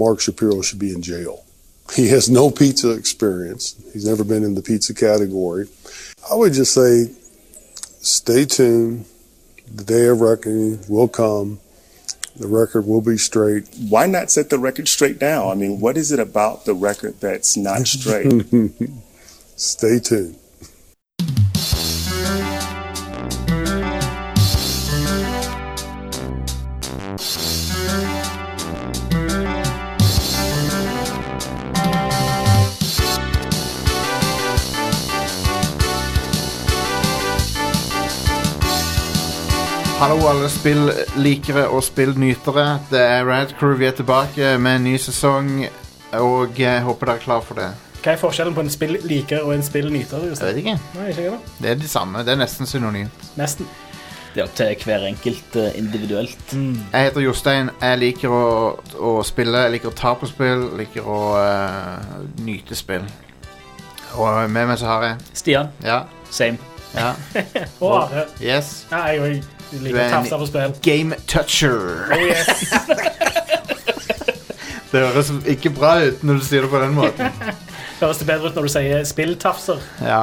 Mark Shapiro should be in jail. He has no pizza experience. He's never been in the pizza category. I would just say stay tuned. The day of reckoning will come. The record will be straight. Why not set the record straight now? I mean, what is it about the record that's not straight? Stay tuned. Hallo, alle spillikere og spillnytere. Det er Rad Crew. Vi er tilbake med en ny sesong, og jeg håper dere er klar for det. Hva er forskjellen på en spilliker og en spillnyter? Jeg Jostein? vet ikke. Nei, ikke jeg da. Det er det samme. Det er nesten synonymt. Nesten. Det er opp til hver enkelt eh, individuelt. Jeg heter Jostein. Jeg liker å, å spille. Jeg liker å ta på spill. Jeg liker å eh, nyte spill. Og med meg så har jeg Stian, Ja. same. ja, Og Are. Yes. Nei, jeg òg Du er liker en- tafsa på spill. Game toucher. Oh, yes. Det høres ikke bra ut når du sier det på den måten. Høres det bedre ut når du sier spilltafser? Ja.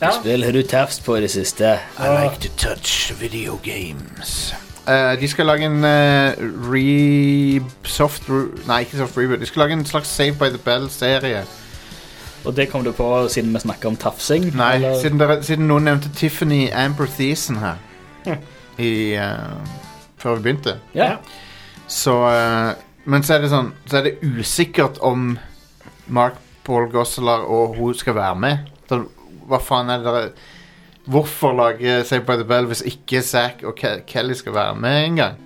Ja. Spill har du tafst på i det siste. I like to touch video games. de skal lage en eh, re... Soft... Re nei, ikke soft reboot. De skal lage en slags Save by the Bell-serie. Og det kom du på siden vi snakka om tafsing? Nei, eller? siden, dere, siden noen nevnte Tiffany Amber Thiessen her i, eh, før vi begynte. Ja. Så eh, Men så er det sånn Så er det usikkert om Mark Paul Gosselaar og hun skal være med. Så, hva faen er det dere Hvorfor lage Save by the Bell hvis ikke Zack og Ke Kelly skal være med engang?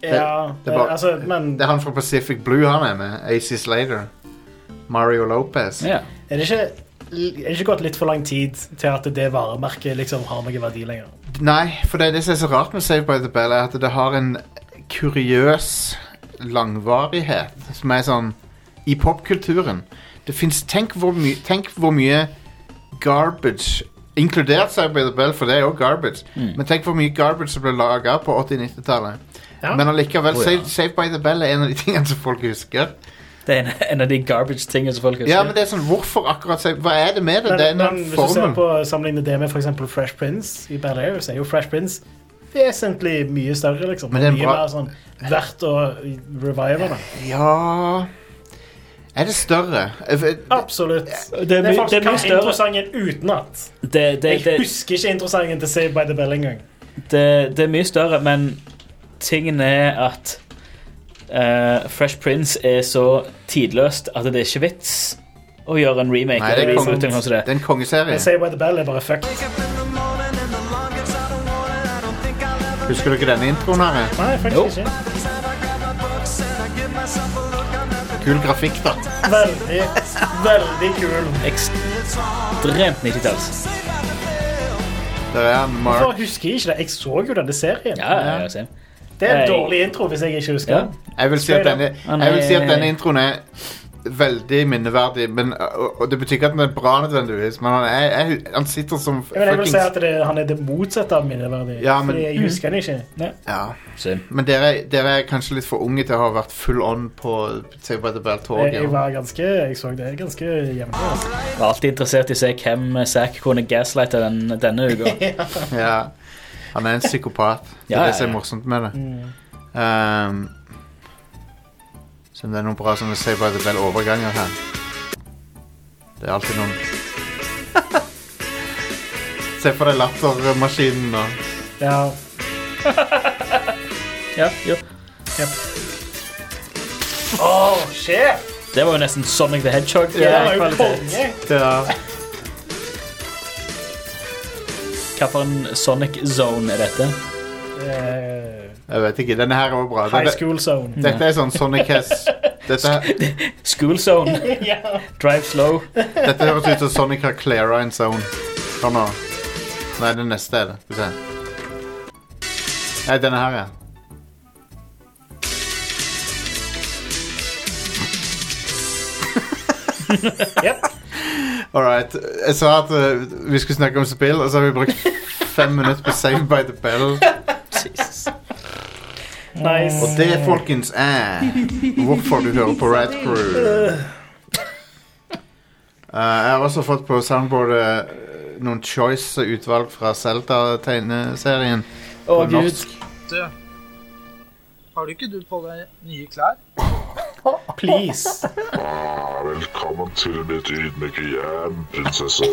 Ja, det er bare- altså, men Det er han fra Pacific Blue han er med. AC Slater. Mario Lopez. ja. er det ikke er det ikke gått litt for lang tid til at det varemerket liksom har noen verdi lenger? Nei, for det, er det som er så rart med Save by the Bell, er at det har en kuriøs langvarighet som er sånn I popkulturen. Det fins tenk, hvor my- tenk hvor mye garbage Inkludert Save by the Bell, for det er jo garbage. Hmm. Men tenk hvor mye garbage som ble laga på 80-90-tallet. Ja. Men allikevel, Å, Oh ja. Dus, Save, Save by the Bell er en av de tingene som folk husker. Det er en, en av de garbage-tingene som folk husker. dus, Ja, men det er sånn, Hvorfor akkurat Save Hva er det med det? Men, det er men den hvis du ser formen. på sammenligne det med for eksempel Fresh Prince i Bel Air, så er jo Fresh Prince vesentlig mye større, liksom. Men det er en mye bra- mer sånn verdt å revive det. Ja Er det større? Eh, eh, Absolutt. det Det er er mye- folk det som er kan mye større. introsangen utenat. Det, det, Jeg det, husker ikke introsangen til Save by the Bell engang. det, det er mye større, men tingen er at eh, Fresh Prince er så tidløst at det er ikke vits å gjøre en remake. Nei, det er, eller kong, sånne ting altså som det det. er en kongeserie. Men Save by the Bell er bare fuck. Husker du ikke denne introen her? Nei, Jo. faktisk ikke. Kul grafikk, da. Veldig, veldig kul. Ekstremt 90-talls. Der er Hvorfor Mark. husker jeg ikke det? Jeg så jo denne serien. Ja, ja, ja, same. Det er en Nei. dårlig intro hvis jeg ikke husker Ja. den. Jeg vil si at denne, Han jeg vil si at er- denne introen er veldig minneverdig, men, og, og det betyr ikke at den er bra nødvendigvis, men han, er, jeg, han sitter som Ja, Men jeg vil si fuckings at det, han er det motsatte av minneverdig. Ja, men- Fordi jeg husker han ikke. Nei. ja. Same. Men dere, dere er kanskje litt for unge til å ha vært full on på Save by the Jeg, Mm. jeg Bell-toget. var ganske Jeg så det ganske jevnlig. Altså. Var alltid interessert i å se hvem Zack kunne gaslighte den, denne uka. Ja. Han er en psykopat. Det Ja, er ja, det som ja. er morsomt med det. Mm. Ehm, Så om det er noen bra som vil si bare at det blir overganger her. Det er alltid noen Se for deg lattermaskinen nå. Ja. Ja, jo. Oh, shit! Det var jo nesten Sonic the Hedgehog. Det var jo kvalitet. konge. Ja. Hva for en Sonic Zone er dette? Eh, Jeg vet ikke. Denne her er også bra. high Dette, school zone. dette er sånn Sonic Has dette, School Zone. ja. Drive slow. dette høres ut som Sonic har cleara en zone. Hør nå. Nei, den neste er det. Skal vi se. Nei, denne her, ja. Yep. Alright, jeg sa at eh, vi skulle snakke om spill, og så har vi brukt fem minutter på Save by the Bell. Jesus. Nice. Og det, folkens, er hvorfor du hører på Rad Crew. Eh, jeg har også fått på soundboardet eh, noen choice-utvalg fra Zelda-tegneserien. Å, på gud. norsk. Du, har du ikke du på deg nye klær? Please. Ah, velkommen til mitt ydmyke hjem, prinsesse.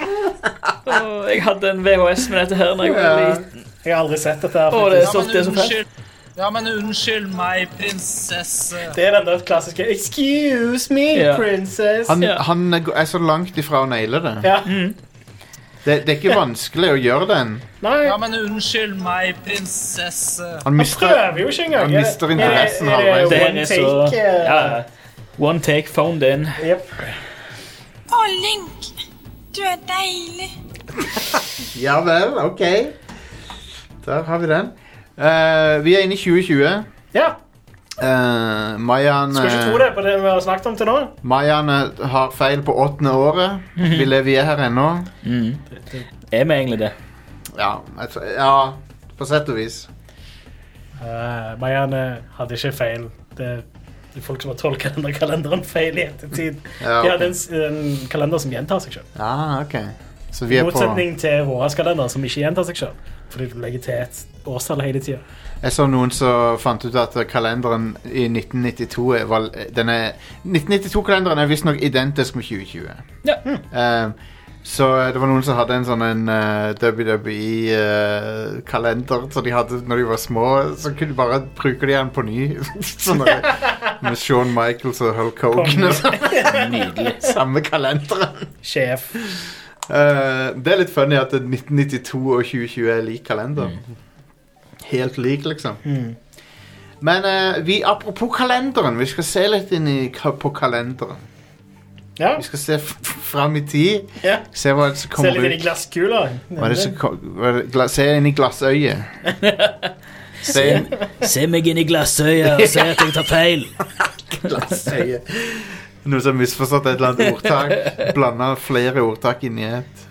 Å, jeg hadde en VHS med dette her da jeg var Ja. liten. Jeg har aldri sett dette her. Å, faktisk. det er så, det er så fett. Ja, men unnskyld meg, prinsesse. Det er den der klassiske 'excuse me, Ja. princess'. Han, Ja. han er så langt ifra å naile det. Ja. det. Det er ikke vanskelig å gjøre den. Nei, Ja, men unnskyld meg, prinsesse. Han han mister prøver jo ikke engang. Han mister interessen Er det- er halvveis. Det det her one er så take, eh, ja, ja. One take, phoned in. jep. Å, Link, du er deilig. Ja vel, OK. Der har vi den. Eh, vi er inne i 2020. Ja, Uh, Mayan skulle ikke tro det på det vi har snakket om til nå. Mayan har feil på åttende året. Vi lever i her ennå. Er vi egentlig det? Ja, jeg tror- ja, på sett og vis. Uh, Marianne hadde ikke feil. Det det er folk som har tolket denne kalenderen feil i ettertid. Ja, De ok. hadde en, s- en kalender som gjentar seg selv. Ah, ok. Så vi I er på motsetning til vår kalender, som ikke gjentar seg selv. Fordi du legger til et årstall hele tida. Jeg så noen som fant ut at kalenderen i 1992 er val- den er 1992-kalenderen er visstnok identisk med 2020. Ja. Eh, så det var noen som hadde en sånn en WWE-kalender E, eh, som de hadde når de var små. Så kunne de bare bruke de den på ny. sånn der, med Shawn Michaels og Hulk Hogan. og sånn. Nydelig. Samme kalenderen. Sjef. Eh, det er litt funny at 1992 og 2020 er lik kalender. Helt lik, liksom. Mm. Men eh, vi, apropos kalenderen, vi skal se litt inn i, ka- på kalenderen. Ja. Vi skal se f f- fram i tid, ja. se hva som Se kommer litt inn i ut. glasskula. Hva er det som kom, hva er det, gla, se inn i glassøyet. se inn Se meg inn i glassøyet og se at jeg tar feil. i glassøyet. Noen som har misforstått et eller annet ordtak. Blanda flere ordtak inn i ett.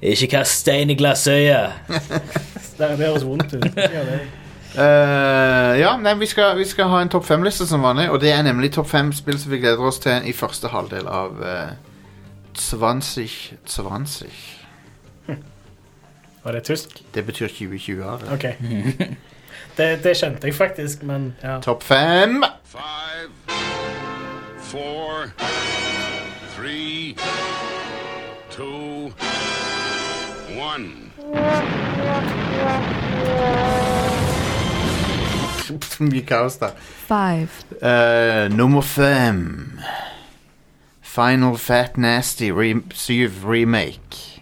Ikke kast stein i glassøyet. Det det høres vondt ut. Ja, det. Eh, ja, nei, vi skal, vi skal ha en topp fem-liste som vanlig, og det er nemlig topp fem spill som vi gleder oss til i første halvdel av eh, 2020. Var det tysk? Det betyr 2020-året. OK. Det, det skjønte jeg faktisk, men ja. Topp fem! Five, four, three, two, one. Så mye kaos der. Five. Eh, nummer fem Final Fat Nasty re 7 Remake.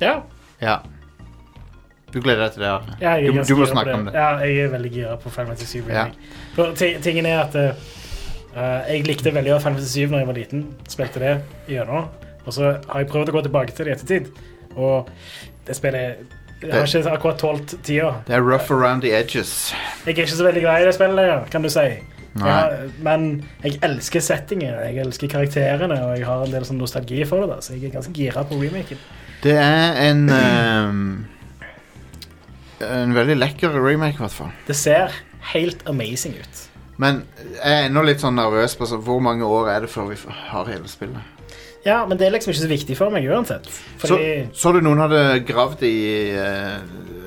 ja. Ja. Du gleder deg til det? Arne. Ja, jeg er du, ganske du må gira på snakke om det. Ja, jeg er veldig gira på Final Fantasy 7. Tingen er at eh, eh, jeg likte veldig godt Final Fantasy 7 da jeg var liten. Spilte det gjennom. Og så har jeg prøvd å gå tilbake til det i ettertid, og det spillet jeg har ikke akkurat tålt tida. Det er rough around the edges. Jeg er ikke så veldig glad i det spillet, lenger, kan du si. Nei. Ja, men jeg elsker settingen, jeg elsker karakterene, og jeg har en del sånn nostalgi for det. da, Så jeg er ganske gira på remaken. Det er en ehm, En veldig lekker remake, i hvert fall. Det ser helt amazing ut. Men jeg er ennå litt sånn nervøs på så, hvor mange år er det før vi f- har hele spillet. Ja, men det er liksom ikke så viktig for meg uansett. Så, Fordi så du noen hadde gravd i eh,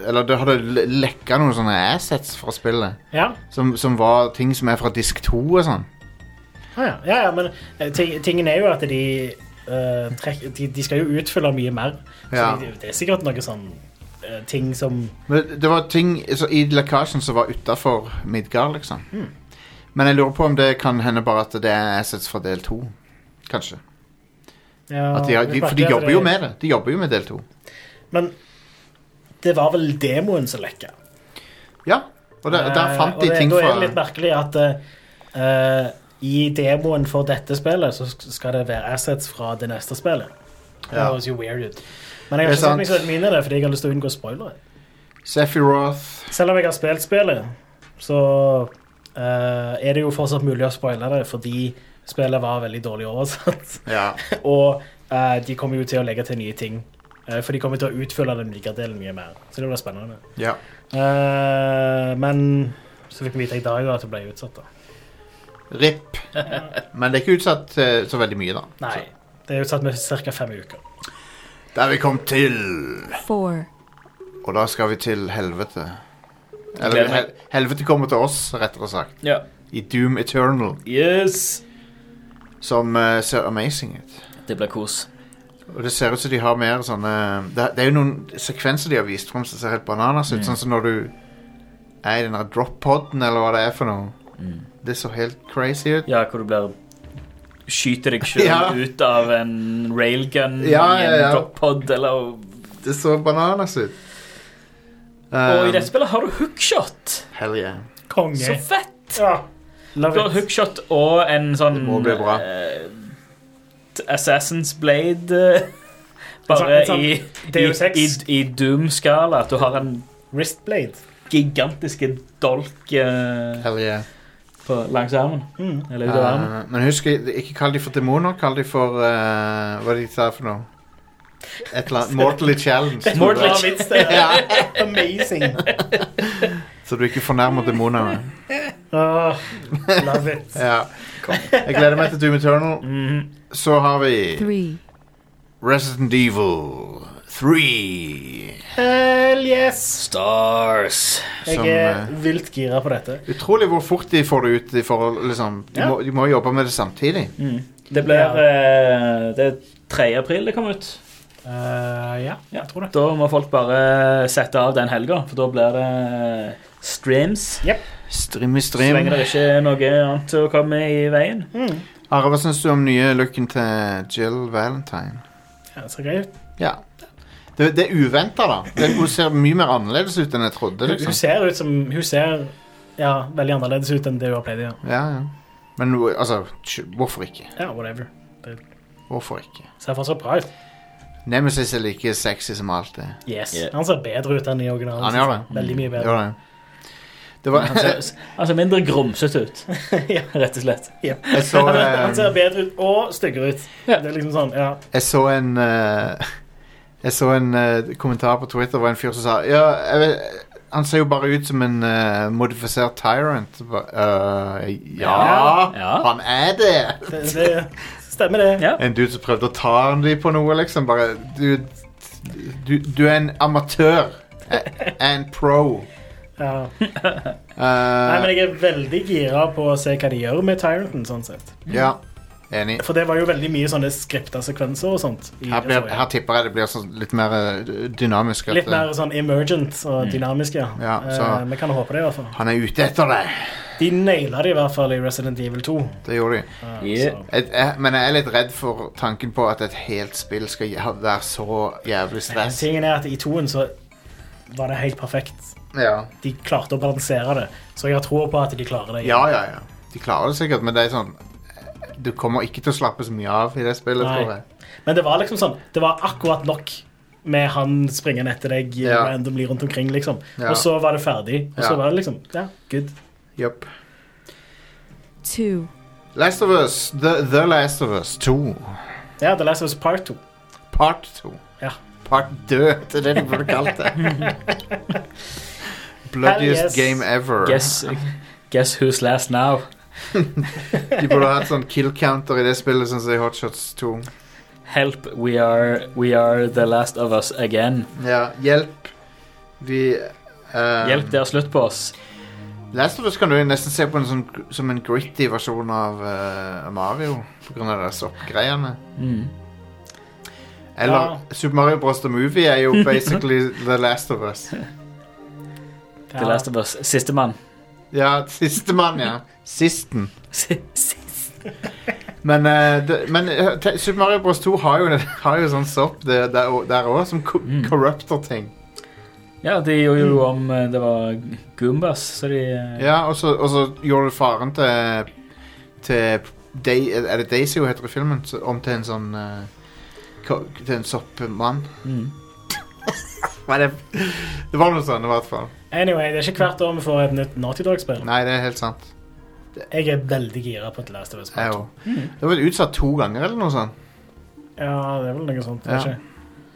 Eller det hadde le- lekka noen sånne assets fra spillet. Ja, Som, som var ting som er fra disk 2 og sånn. ah, ja, ja, ja men eh, ting- tingen er jo at de, eh, trekk, de De skal jo utfylle mye mer. Så Ja. de, det er sikkert noe sånn eh, ting som Men det var ting så i lekkasjen som var utafor Midgard, liksom. Men jeg lurer på om det kan hende bare at det er assets fra del 2. Kanskje. ja, At de, har- det de, er for de merkelig at jobber det- jo med det. De jobber jo med del 2. Men det var vel demoen som lekka. Ja, og der, der Eh, fant og de det- ting Da er det litt fra merkelig at eh, eh, i demoen for dette spillet så sk- skal det være assets fra det neste spillet. Det Ja. høres jo weird ut. Men jeg har Det er ikke sett meg så sant. veldig mye i det, fordi jeg har lyst til å unngå spoilere. Sephiroth. Selv om jeg har spilt spillet, så eh, er det jo fortsatt mulig å spoile det, fordi spillet var veldig dårlig oversatt. Ja. Og eh, de kommer jo til å legge til nye ting Eh, For de kommer til å utfylle den ligerdelen mye mer. Så det blir spennende. Ja. Eh, men så fikk vi vite i dag da, at det ble utsatt. da. RIP. Men det er ikke utsatt eh, så veldig mye, da. Nei, det er utsatt med ca. fem uker. Der vi kom til! four, Og da skal vi til helvete. gleder Eller hel meg. helvete kommer til oss, rettere sagt. Ja. I Doom Eternal, Yes! som eh, ser amazing ut. Det blir kos. Og det ser ut som de har mer sånne Det, det er jo noen sekvenser de har vist fram som ser helt bananas ut. Mm. Sånn som når du er i den der drop-poden, eller hva det er for noe. Mm. Det så helt crazy ut. Ja, hvor du blir Skyter deg sjøl Ja. ut av en railgun Ja, ja, i en ja. droppod eller Det så bananas ut. Og i Um, dette spillet har du hookshot! Hell yeah. Så Konge. fett! Ja. Du har Love it. hookshot og en sånn Det må bli bra. eh, t- Assassin's Blade eh, Bare En sånn- i, en Deus i, i, Ex. i Doom-skala. At du har en Wristblade. gigantisk dolk eh, Hell yeah. på, langs armen. Mm. Eller ut av armen. Uh, men husk, ikke kall de for demoner. Kall de for uh, Hva de sa for noe? Et eller annet Mortally Challenge. tror Mortally jeg. Challenge. vits, det. ja. Amazing. Så du ikke fornærmer demonene. Åh, Ah, love it. Ja. Jeg gleder meg til Doom Eternal. Mhm. Så har vi three, Resident Evil 3. Hell yes! Stars. Jeg Som, er eh, vilt gira på dette. Utrolig hvor fort de får det ut. i forhold, liksom, de, Ja. må, de må jobbe med det samtidig. Mm. Det blir eh, Det er 3. april det kommer ut. Eh, ja, jeg tror det. Da må folk bare sette av den helga, for da blir det eh, streams. Strim i Så strim. lenge det ikke er noe annet til å komme i veien. Are, hva syns du om nye looken til Jill Valentine? Ja, det ser gøy ut. Ja. Det, det er uventa, da. Det, hun ser mye mer annerledes ut enn jeg trodde. Hun, hun liksom. ser ut som Hun ser ja, veldig annerledes ut enn det hun har pleid å gjøre. Ja, ja. Men hun- altså, tj- hvorfor ikke? Ja, whatever. Hvorfor ikke? Ser fortsatt bra ut. Nemesis er like sexy som alt det. Yes. Yeah. Han ser bedre ut enn i originalen. Han gjør det. Mm. Veldig mye bedre. Gjør det. Det var, Han ser, han ser Altså, mindre grumsete ut, Ja. rett og slett. jeg så Han, eh, han ser bedre ut og styggere ut. Ja. Det er liksom sånn, ja. Jeg så en eh, Jeg så en eh, kommentar på Twitter hvor en fyr som sa Ja, jeg vet, han ser jo bare ut som en eh, modifisert tyrant. Ba- eh, ja, Ja. han er det! Det, det stemmer, det. Ja. En dude som prøvde å ta han de på noe, liksom. Bare Du, du, du er en amatør. Jeg er en pro. Ja. Eh, Nei, men jeg er veldig gira på å se hva de gjør med Tyranten, sånn sett. ja, enig. For det var jo veldig mye sånne skripta sekvenser og sånt. i- Her, blir, her tipper jeg det blir sånn litt mer eh, dynamisk. at eh, Litt det- mer sånn emergent og Mm. dynamisk, ja. Ja, så- eh, vi kan håpe det, i hvert fall. Han er ute etter deg. De naila det i hvert fall i Resident Evil 2. Det gjorde de. eh, Yeah. så- Jeg, jeg, men jeg er litt redd for tanken på at et helt spill skal gje- ha- være så jævlig Men stress. tingen er at i 2-en så var det helt perfekt. Ja, De klarte å balansere det, så jeg har tro på at de klarer det. ja, ja. ja. De klarer det sikkert, men det er sånn Du kommer ikke til å slappe så mye av i det spillet, Nei. tror jeg. Men det var liksom sånn, det var akkurat nok med han springende etter deg Ja. randomly rundt omkring, liksom. Ja. Og så var det ferdig, og så Ja. var det liksom Ja, good. Jupp. two, Last of Us, The, The Last of Us 2. Ja, The Last of Us Part 2. Part 2. Ja. Part død, det er det de burde kalt det. Bloodiest Hell yes. game ever. Guess, guess who's last now? De burde hatt sånn kill counter i det spillet, sånn som i Hotshots 2. Help, we are, we are the last of us again. Ja, hjelp. Vi eh, Hjelp, det er slutt på oss. Last of Us kan du jo nesten se på en sånn, som en gritty versjon av eh, Mario. På grunn av de soppgreiene. Mm. Eller Ja. Super Mario Bros. The Movie er jo basically The Last of Us. The last of us. Sistemann. Ja, sistemann, ja. Sisten. Si- si- Men, eh, det, men eh, te- Super Mario Bros. 2 har jo, har jo sånn sopp det- der og- der òg, som co corrupter ting. Ja, de gjorde jo om eh, det var Goombas, så de eh, Ja, og så, og så gjorde du faren til, til Dai- Er det Daisy hun heter i filmen? Så- Om til en sånn eh, ko- Til en soppmann. mm. Nei, det, det var noe sånn i hvert fall. Anyway, det er ikke hvert år vi får et nytt Naughty Dog-spill. Nei, det er helt sant. Jeg er veldig gira på The Last of Us Jeg Part 2. òg. Det var vel utsatt to ganger eller noe sånt. Ja, det er vel noe sånt, Ja. kanskje.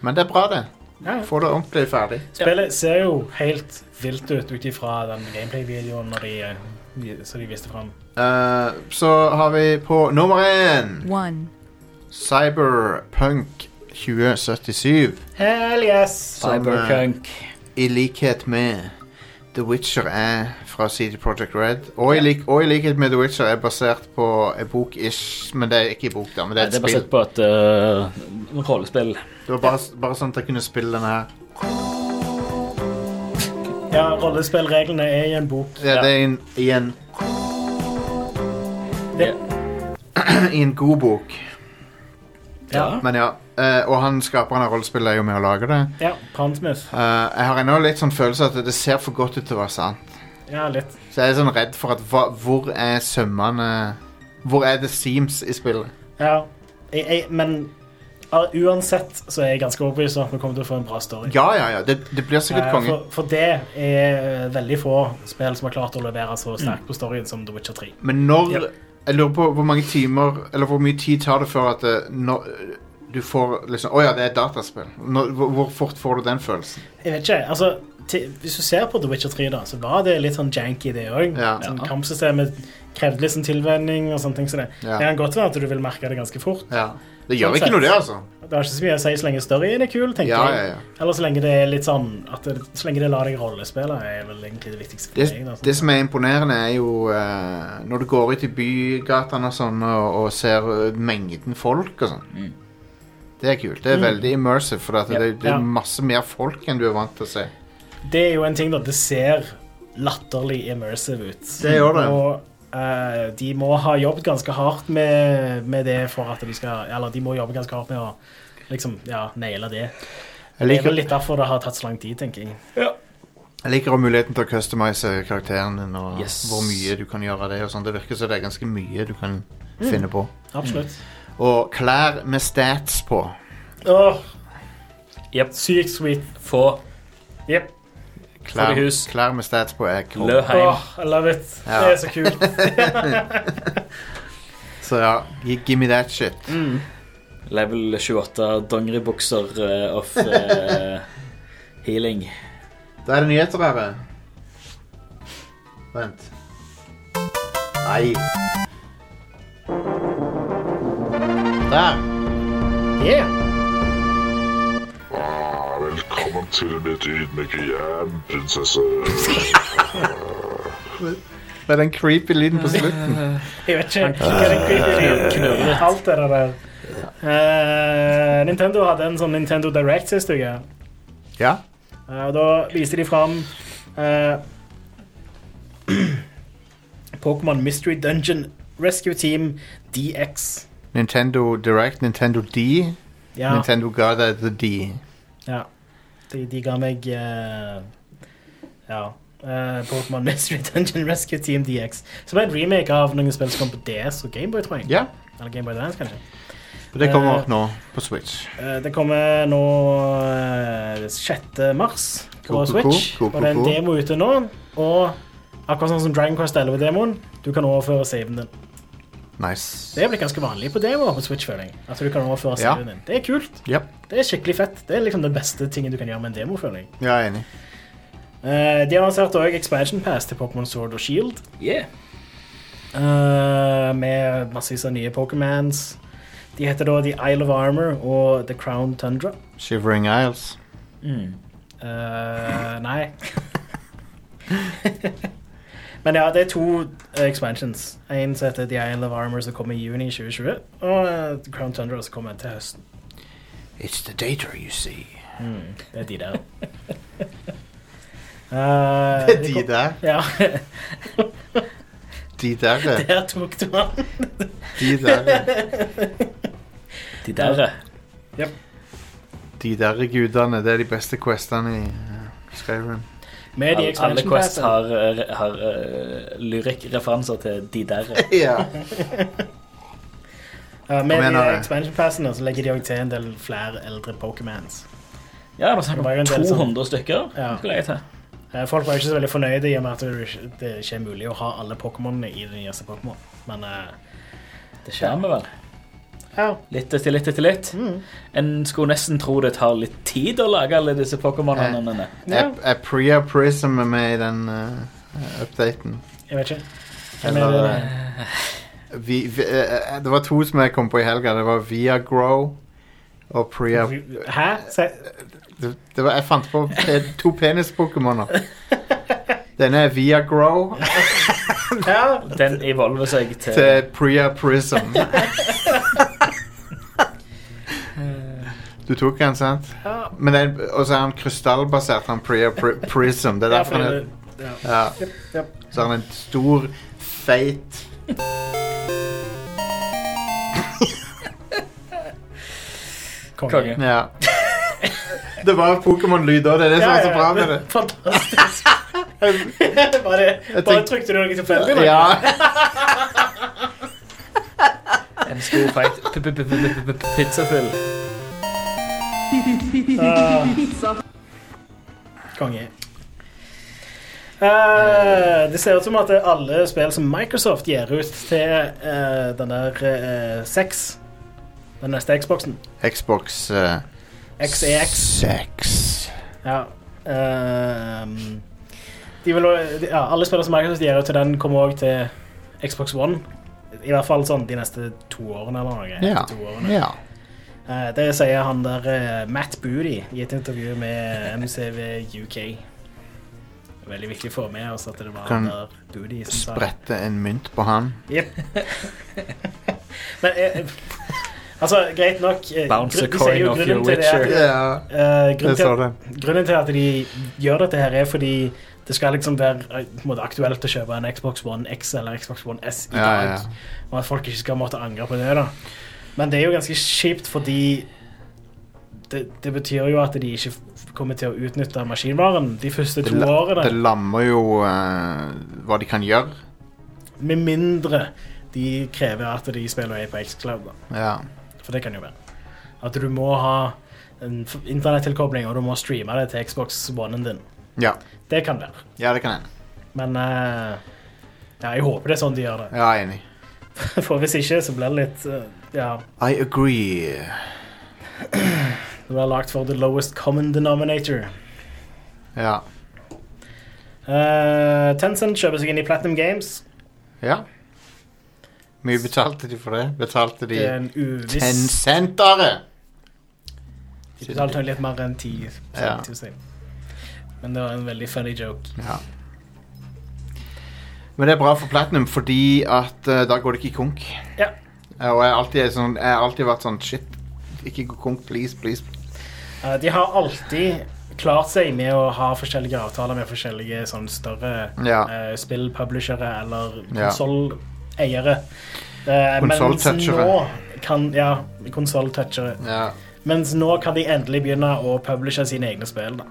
Men det er bra, det. Ja. Få det ordentlig ferdig. Spillet ser jo helt vilt ut ut ifra den gameplay-videoen når de, eh, vi- som de viste fram. Eh, så har vi på nummer én One. Cyberpunk 2077. Hell yes! som, eh, I likhet med The Witcher er fra CD Projekt Red. Og i, lik, og i likhet med The Witcher er basert på en bok ish, men det er ikke en bok, da. Men det er Det et er spill. basert på et eh, rollespill. Det var bare, bare sånn at jeg kunne spille denne her. Ja, rollespillreglene er i en bok. Ja, Det er en, i, en, Det, i en god bok. ja. Men ja. eh, og han skaperen av rollespillet er jo med å lage det. ja, Pondsmith. Eh, jeg har ennå litt sånn følelse at det ser for godt ut til å være sant. Ja, litt. Så jeg er sånn redd for at hva, hvor er sømmene Hvor er The Seams i spillet? Ja. Jeg, jeg, men ja, uansett så er jeg ganske overbevist om at vi kommer til å få en bra story. Ja, ja, ja. Det, det blir sikkert Eh, konge. For, for det er veldig få spill som har klart å levere så Mm. sterkt på storyen som The Witcher 3. Men når Ja. Jeg lurer på hvor mange timer Eller hvor mye tid tar det før at eh, når, du får liksom Å ja, det er et dataspill. Når, hvor- hvor fort får du den følelsen? Jeg vet ikke, altså til, Hvis du ser på The Witcher 3, da, så var det litt sånn janky, det òg. Ja. Sånn Ja. kampsystemet krevde litt sånn tilvenning og sånne ting. som det. Ja. Det kan godt være at du vil merke det ganske fort. Ja. Det gjør Sånn ikke sett. noe, det, altså. Det har ikke så mye å si så lenge storyen er kul, tenker Ja, ja, jeg. ja. Eller så lenge det er litt sånn at det, Så lenge det lar deg rollespille, er vel egentlig det viktigste for Det, meg. Da, sånn. det som er imponerende, er jo eh, når du går ut i bygatene og sånn og, og ser eh, mengden folk og sånn. Mm. Det er kult. Det er veldig immersive, for at Ja. det, det Ja. er masse mer folk enn du er vant til å se. det er jo en ting, da. Det ser latterlig immersive ut. Det gjør det. Og eh, de må ha jobbet ganske hardt med, med det for at de skal Eller de må jobbe ganske hardt med å liksom, ja, naile det. Jeg Det er liker, vel litt derfor det har tatt så lang tid, tenker jeg. jeg liker også muligheten til å customize karakteren din og Yes. hvor mye du kan gjøre av det. og sånn. Det virker som det er ganske mye du kan finne på. Absolutt. Og klær med stats på. Mm. Åh, Jep. sykt sweet. Få Yep. Klær, Folkehus. klær med stats på er cool. Løheim. Åh, I love it. Ja. Det er så kult. Så ja, gi- give me that shit. Level 28 dongeribukser eh, of eh, healing. Da er det nyheter, dere. Vent. Nei. Der. Yeah. Ah, velkommen til mitt ydmyke jern, prinsesse. Det er den creepy lyden på slutten. Jeg vet ikke hva det kryper i. Alt det der. Eh, Nintendo hadde en sånn Nintendo Direct sist uke. Ja. Eh, og da viste de fram eh, Pokémon Mystery Dungeon Rescue Team DX. Nintendo Direct, Nintendo D. Ja, Nintendo ga deg the D. ja. De, de ga meg eh, Ja. eh, Pokémon Mystery Dungeon Rescue Team DX. Som er en remake av noen spill som kom på DS og Gameboy, tror jeg. Ja. Eller Gameboy Dance, kanskje. Og det kommer Eh. nå på Switch. Eh, Det kommer nå eh, 6. mars på Ko-ko-ko, Switch. Og det er en ko-ko-ko. demo ute nå. Og akkurat sånn som Dragon Quest 11-demoen, du kan overføre saven din. Nice. Det er blitt ganske vanlig på demoer på Switch, føler jeg. At du kan overføre Ja. saven din. Det er kult. Yep. Det er skikkelig fett. Det er liksom den beste tingen du kan gjøre med en demo, føler jeg. Ja, jeg er enig. Eh, De annonserte òg Expansion Pass til Pokémon Sword og Shield. Yeah. eh, med massevis av nye Pokémons. De heter da The Isle of Armor og The Crown Tundra. Shivering Isles. Mm. Eh, nei. Men ja, det er to eh, expansions. En som heter The Isle of Armor, som kommer i juni 2020. Og eh, The Crown Tundra, som kommer til høsten. It's the data you see. Det er de der. Eh, Det er de der. Ja, De der, ja. der tok du den. de der. ja. De der, eh. De der gudene. Det er de beste questene i eh, Skyrim. Med de Alle- Alle expansion Quest passene. har, eh, har eh, lyrikkreferanser til de der. eh. Ja. Ja, med Kom igjen, de Are. expansion passene så legger de òg til en del flere eldre Pokémons. Ja, det var snakk Det var jo en om del som- 200 stykker. Ja. Skulle jeg til. Eh, Folk var ikke så veldig fornøyde i og med at det ikke- det ikke er mulig å ha alle Pokémonene i det nyeste Pokémon. Men eh, Det skjer vi vel. Litt etter litt etter litt. Mm. En skulle nesten tro det tar litt tid å lage alle disse Pokémonene. Er, er Priya Prism med i den eh, updaten? Jeg vet ikke. Hvem er Eller det? eh, vi, vi, eh, eh, Det var to som jeg kom på i helga. Det var Via Grow og Priya Hæ? Se, det, det var, Jeg fant på pe- to penis-pokémoner. Denne er Via Grow ja. Den evolver seg til til Priya Prism. Eh. Du tok den, sant? ja. Men den, og så er han krystallbasert, han Priya Pri Prism. Det er derfor han er ja. Ja. Jep, jep. Så har han en stor, feit konge. Ja. Det var Pokémon-lyd òg, det er det som er så bra med det. Fantastisk. bare Jeg bare tenk- trykte du noe tilfeldig? da? Ja, En stor, feit p- p- p- p- p- p- pizzafyll. Konge. Eh, det ser ut som at det er alle spill som Microsoft gir ut til eh, den der eh, 6 Den neste Xboxen. Xbox eh, XEX. 6. Ja. ehm, de vil, også- de- ja, alle spillere som Microsoft gir ut til den, kommer òg til Xbox One. I hvert fall sånn de neste to årene eller noe. Ja. To årene. ja. Eh, det sier han der eh, Matt Booty i et intervju med MCV UK. Veldig viktig å få med oss at det var Kan han der Booty som sa Sprette en mynt på han. Jep. Men eh, altså, greit nok eh, Bounce a gru- de sier jo coin off grunnen your til det er- witcher. Ja, eh, grunnen jeg til at så det. Grunnen til at de gjør dette her er fordi det skal liksom være eh, på en måte, aktuelt å kjøpe en Xbox One X eller Xbox One S i Ja, dag. ja, ja. Og at folk ikke skal måtte angre på det. da Men det er jo ganske kjipt fordi det, det betyr jo at de ikke f- kommer til å utnytte maskinvaren de første Det, to la- det årene. lammer jo eh, hva de kan gjøre. Med mindre de krever at de spiller er på Xcloud. da Ja. For det kan jo være. At du må ha en f- internettilkobling, og du må streame det til Xbox One-en din. Ja. Det kan være. ja, det kan hende. Men eh, ja, jeg håper det er sånn de gjør det. Ja, jeg er enig. For hvis ikke, så blir det litt eh, Ja, I agree. det blir lagt for the lowest common denominator. Ja. Eh, Tencent kjøper seg inn i Platinum Games. ja. Mye betalte de for det? Betalte de Det er en ten uviss centere? De betalte nok litt mer enn 10 Ja. tusen. Men det var en veldig funny joke. Ja. Men det er bra for Platinum, fordi at eh, da går det ikke i konk. Ja. Eh, Og jeg har alltid, er sånn, jeg har alltid vært sånn Shit, ikke gå konk, please, please. Eh, de har alltid klart seg med å ha forskjellige avtaler med forskjellige sånn større Ja. eh, spillpublishere eller Ja. konsolleiere. Eh, mens Konsoltouchere. nå kan Ja, konsolltouchere. Ja. Mens nå kan de endelig begynne å publishe sine egne spill. da.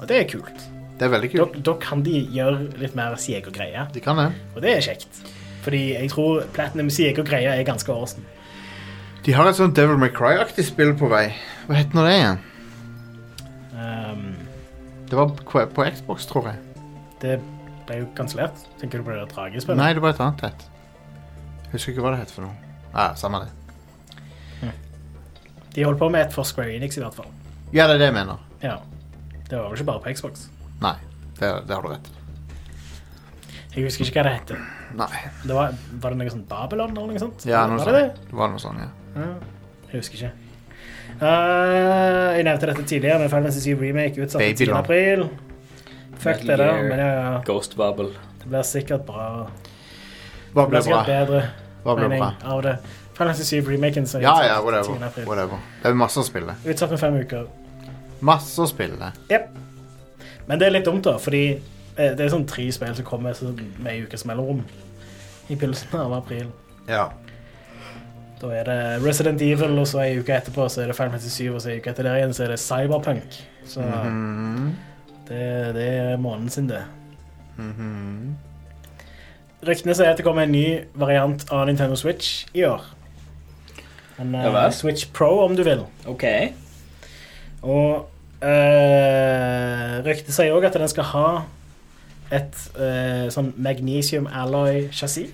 Og det er kult. Det er veldig Da, kult. da kan de gjøre litt mer si egen greie, De kan det. og det er kjekt. Fordi jeg tror Platinum si egen greie er ganske awesome. De har et sånt Devil May Cry-aktig spill på vei. Hva heter nå det igjen? Um, Det var på, på Xbox, tror jeg. det ble jo kansellert. Tenker du på det der dragespillet? Nei, det var et annet et. Husker ikke hva det het for noe. Ja, samme det. De holdt på med et for Square Enix, i hvert fall. Ja, det er det jeg mener. Ja. Det var vel ikke bare på Xbox. Nei, det, det har du rett i. Jeg husker ikke hva det heter. Nei. Det var, var det noe sånt Babylon eller noe sånt? Ja, noe var det det? sånt. Det var noe sånt, ja. Jeg husker ikke. Eh, jeg nevnte dette tidligere, men Final Fantasy 7 Remake utsatt til 10. Babylon. april. Fuck det Metal der, Gear. men ja, ja. Ghost Bubble. Det blir sikkert bra. Hva ble Det blir bra? sikkert bedre Hva ble mening bra? av det. Final Fantasy 7 Remaken som er Ja, utsatt ja, til whatever. 10. april. whatever. Det er masse å spille. Utsatt med fem uker. Masse å spille. Jep. Men det er litt dumt, da, fordi eh, det er sånn tre spill som kommer sånn med en ukes mellomrom i begynnelsen av april. Ja. Da er det Resident Evil, og så en uke etterpå så er det Final Fantasy 7, og så en uke etter der igjen så er det Cyberpunk. Så Mhm. det, det er måneden sin, det. Mhm. Ryktene sier at det kommer en ny variant av Nintendo Switch i år. En eh, Ja vel. Switch Pro, om du vil. OK. Og uh, ryktet sier òg at den skal ha et eh, sånn magnesium alloy-chassis,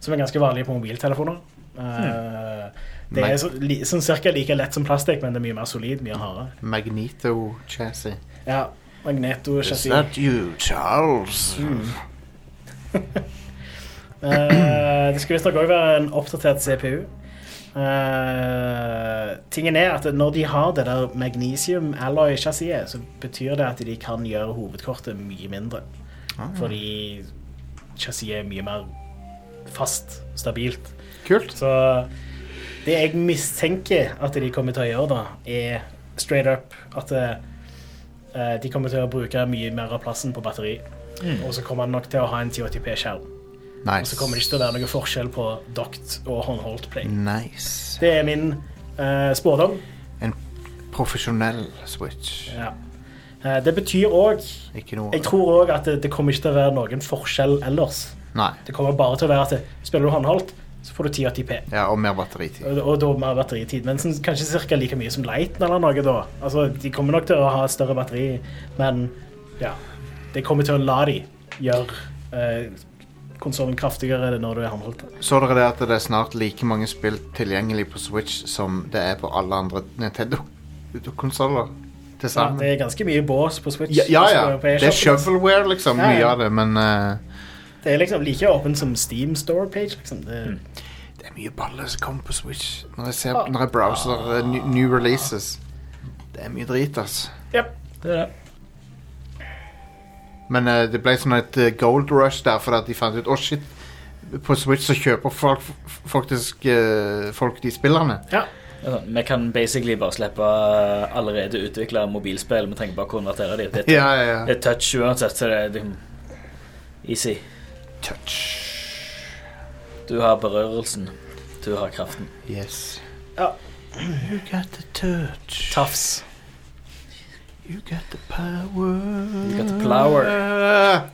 som er ganske vanlig på mobiltelefoner. Eh, Det er så, li, sånn cirka like lett som plastikk, men det er mye mer solid, mye hardere. Magneto-chassis. Ja, magneto Is that you, Charles? Mm. Eh, det skal visstnok òg være en oppdatert CPU. Eh, tingen er at når de har det der magnesium alloy-chassiset, så betyr det at de kan gjøre hovedkortet mye mindre. Ah. Fordi chassiset er mye mer fast, stabilt. Kult. Så det jeg mistenker at de kommer til å gjøre, da, er straight up at eh, de kommer til å bruke mye mer av plassen på batteri. Mm. Og så kommer han nok til å ha en 1080p-skjerm. Og så Nice. kommer det ikke til å være noe forskjell på docked og håndholdt Mm. play. Nice. Det er min eh, spådom. En profesjonell Switch. Ja. Eh, det betyr òg Ikke noe Jeg tror òg at det, det kommer ikke til å være noen forskjell ellers. Nei. Det kommer bare til å være at det- spiller du håndholdt, så får du 1080p. Ja, og mer batteritid. Og, og da mer batteritid. Men sånn, kanskje ca. like mye som Lighten eller noe, da. Altså, de kommer nok til å ha større batteri, men ja. De kommer til å la de gjøre eh, konsollen kraftigere når du er håndholdt. Så dere det at det er snart like mange spill tilgjengelig på Switch som det er på alle andre Nintendo-konsoller til Ja, sammen? det er ganske mye bås på Switch. Ja, ja. Altså, på ja. Det er eShop. shovelware, liksom, Ja, ja. mye av det, men eh, Det er liksom like åpent som Steam Store Page, liksom. Det, det er mye baller som kommer på Switch når jeg, ser, når jeg browser eh, new, new releases. Det er mye drit, ass. Japp, det er det. Men eh, det ble sånn et eh, gold rush der, fordi at de fant ut Å, shit, på Switch så kjøper folk f- faktisk eh, folk de spillerne. Ja. Altså, Vi kan basically bare slippe eh, allerede utvikla mobilspill. Vi trenger bare å konvertere dem. Det, er- Ja, ja, ja. det er touch uansett, så det er liksom easy. Touch. Du har berørelsen. Du har kraften. Yes. Ja. You got the touch. Tafs. You got the power. You got the flower.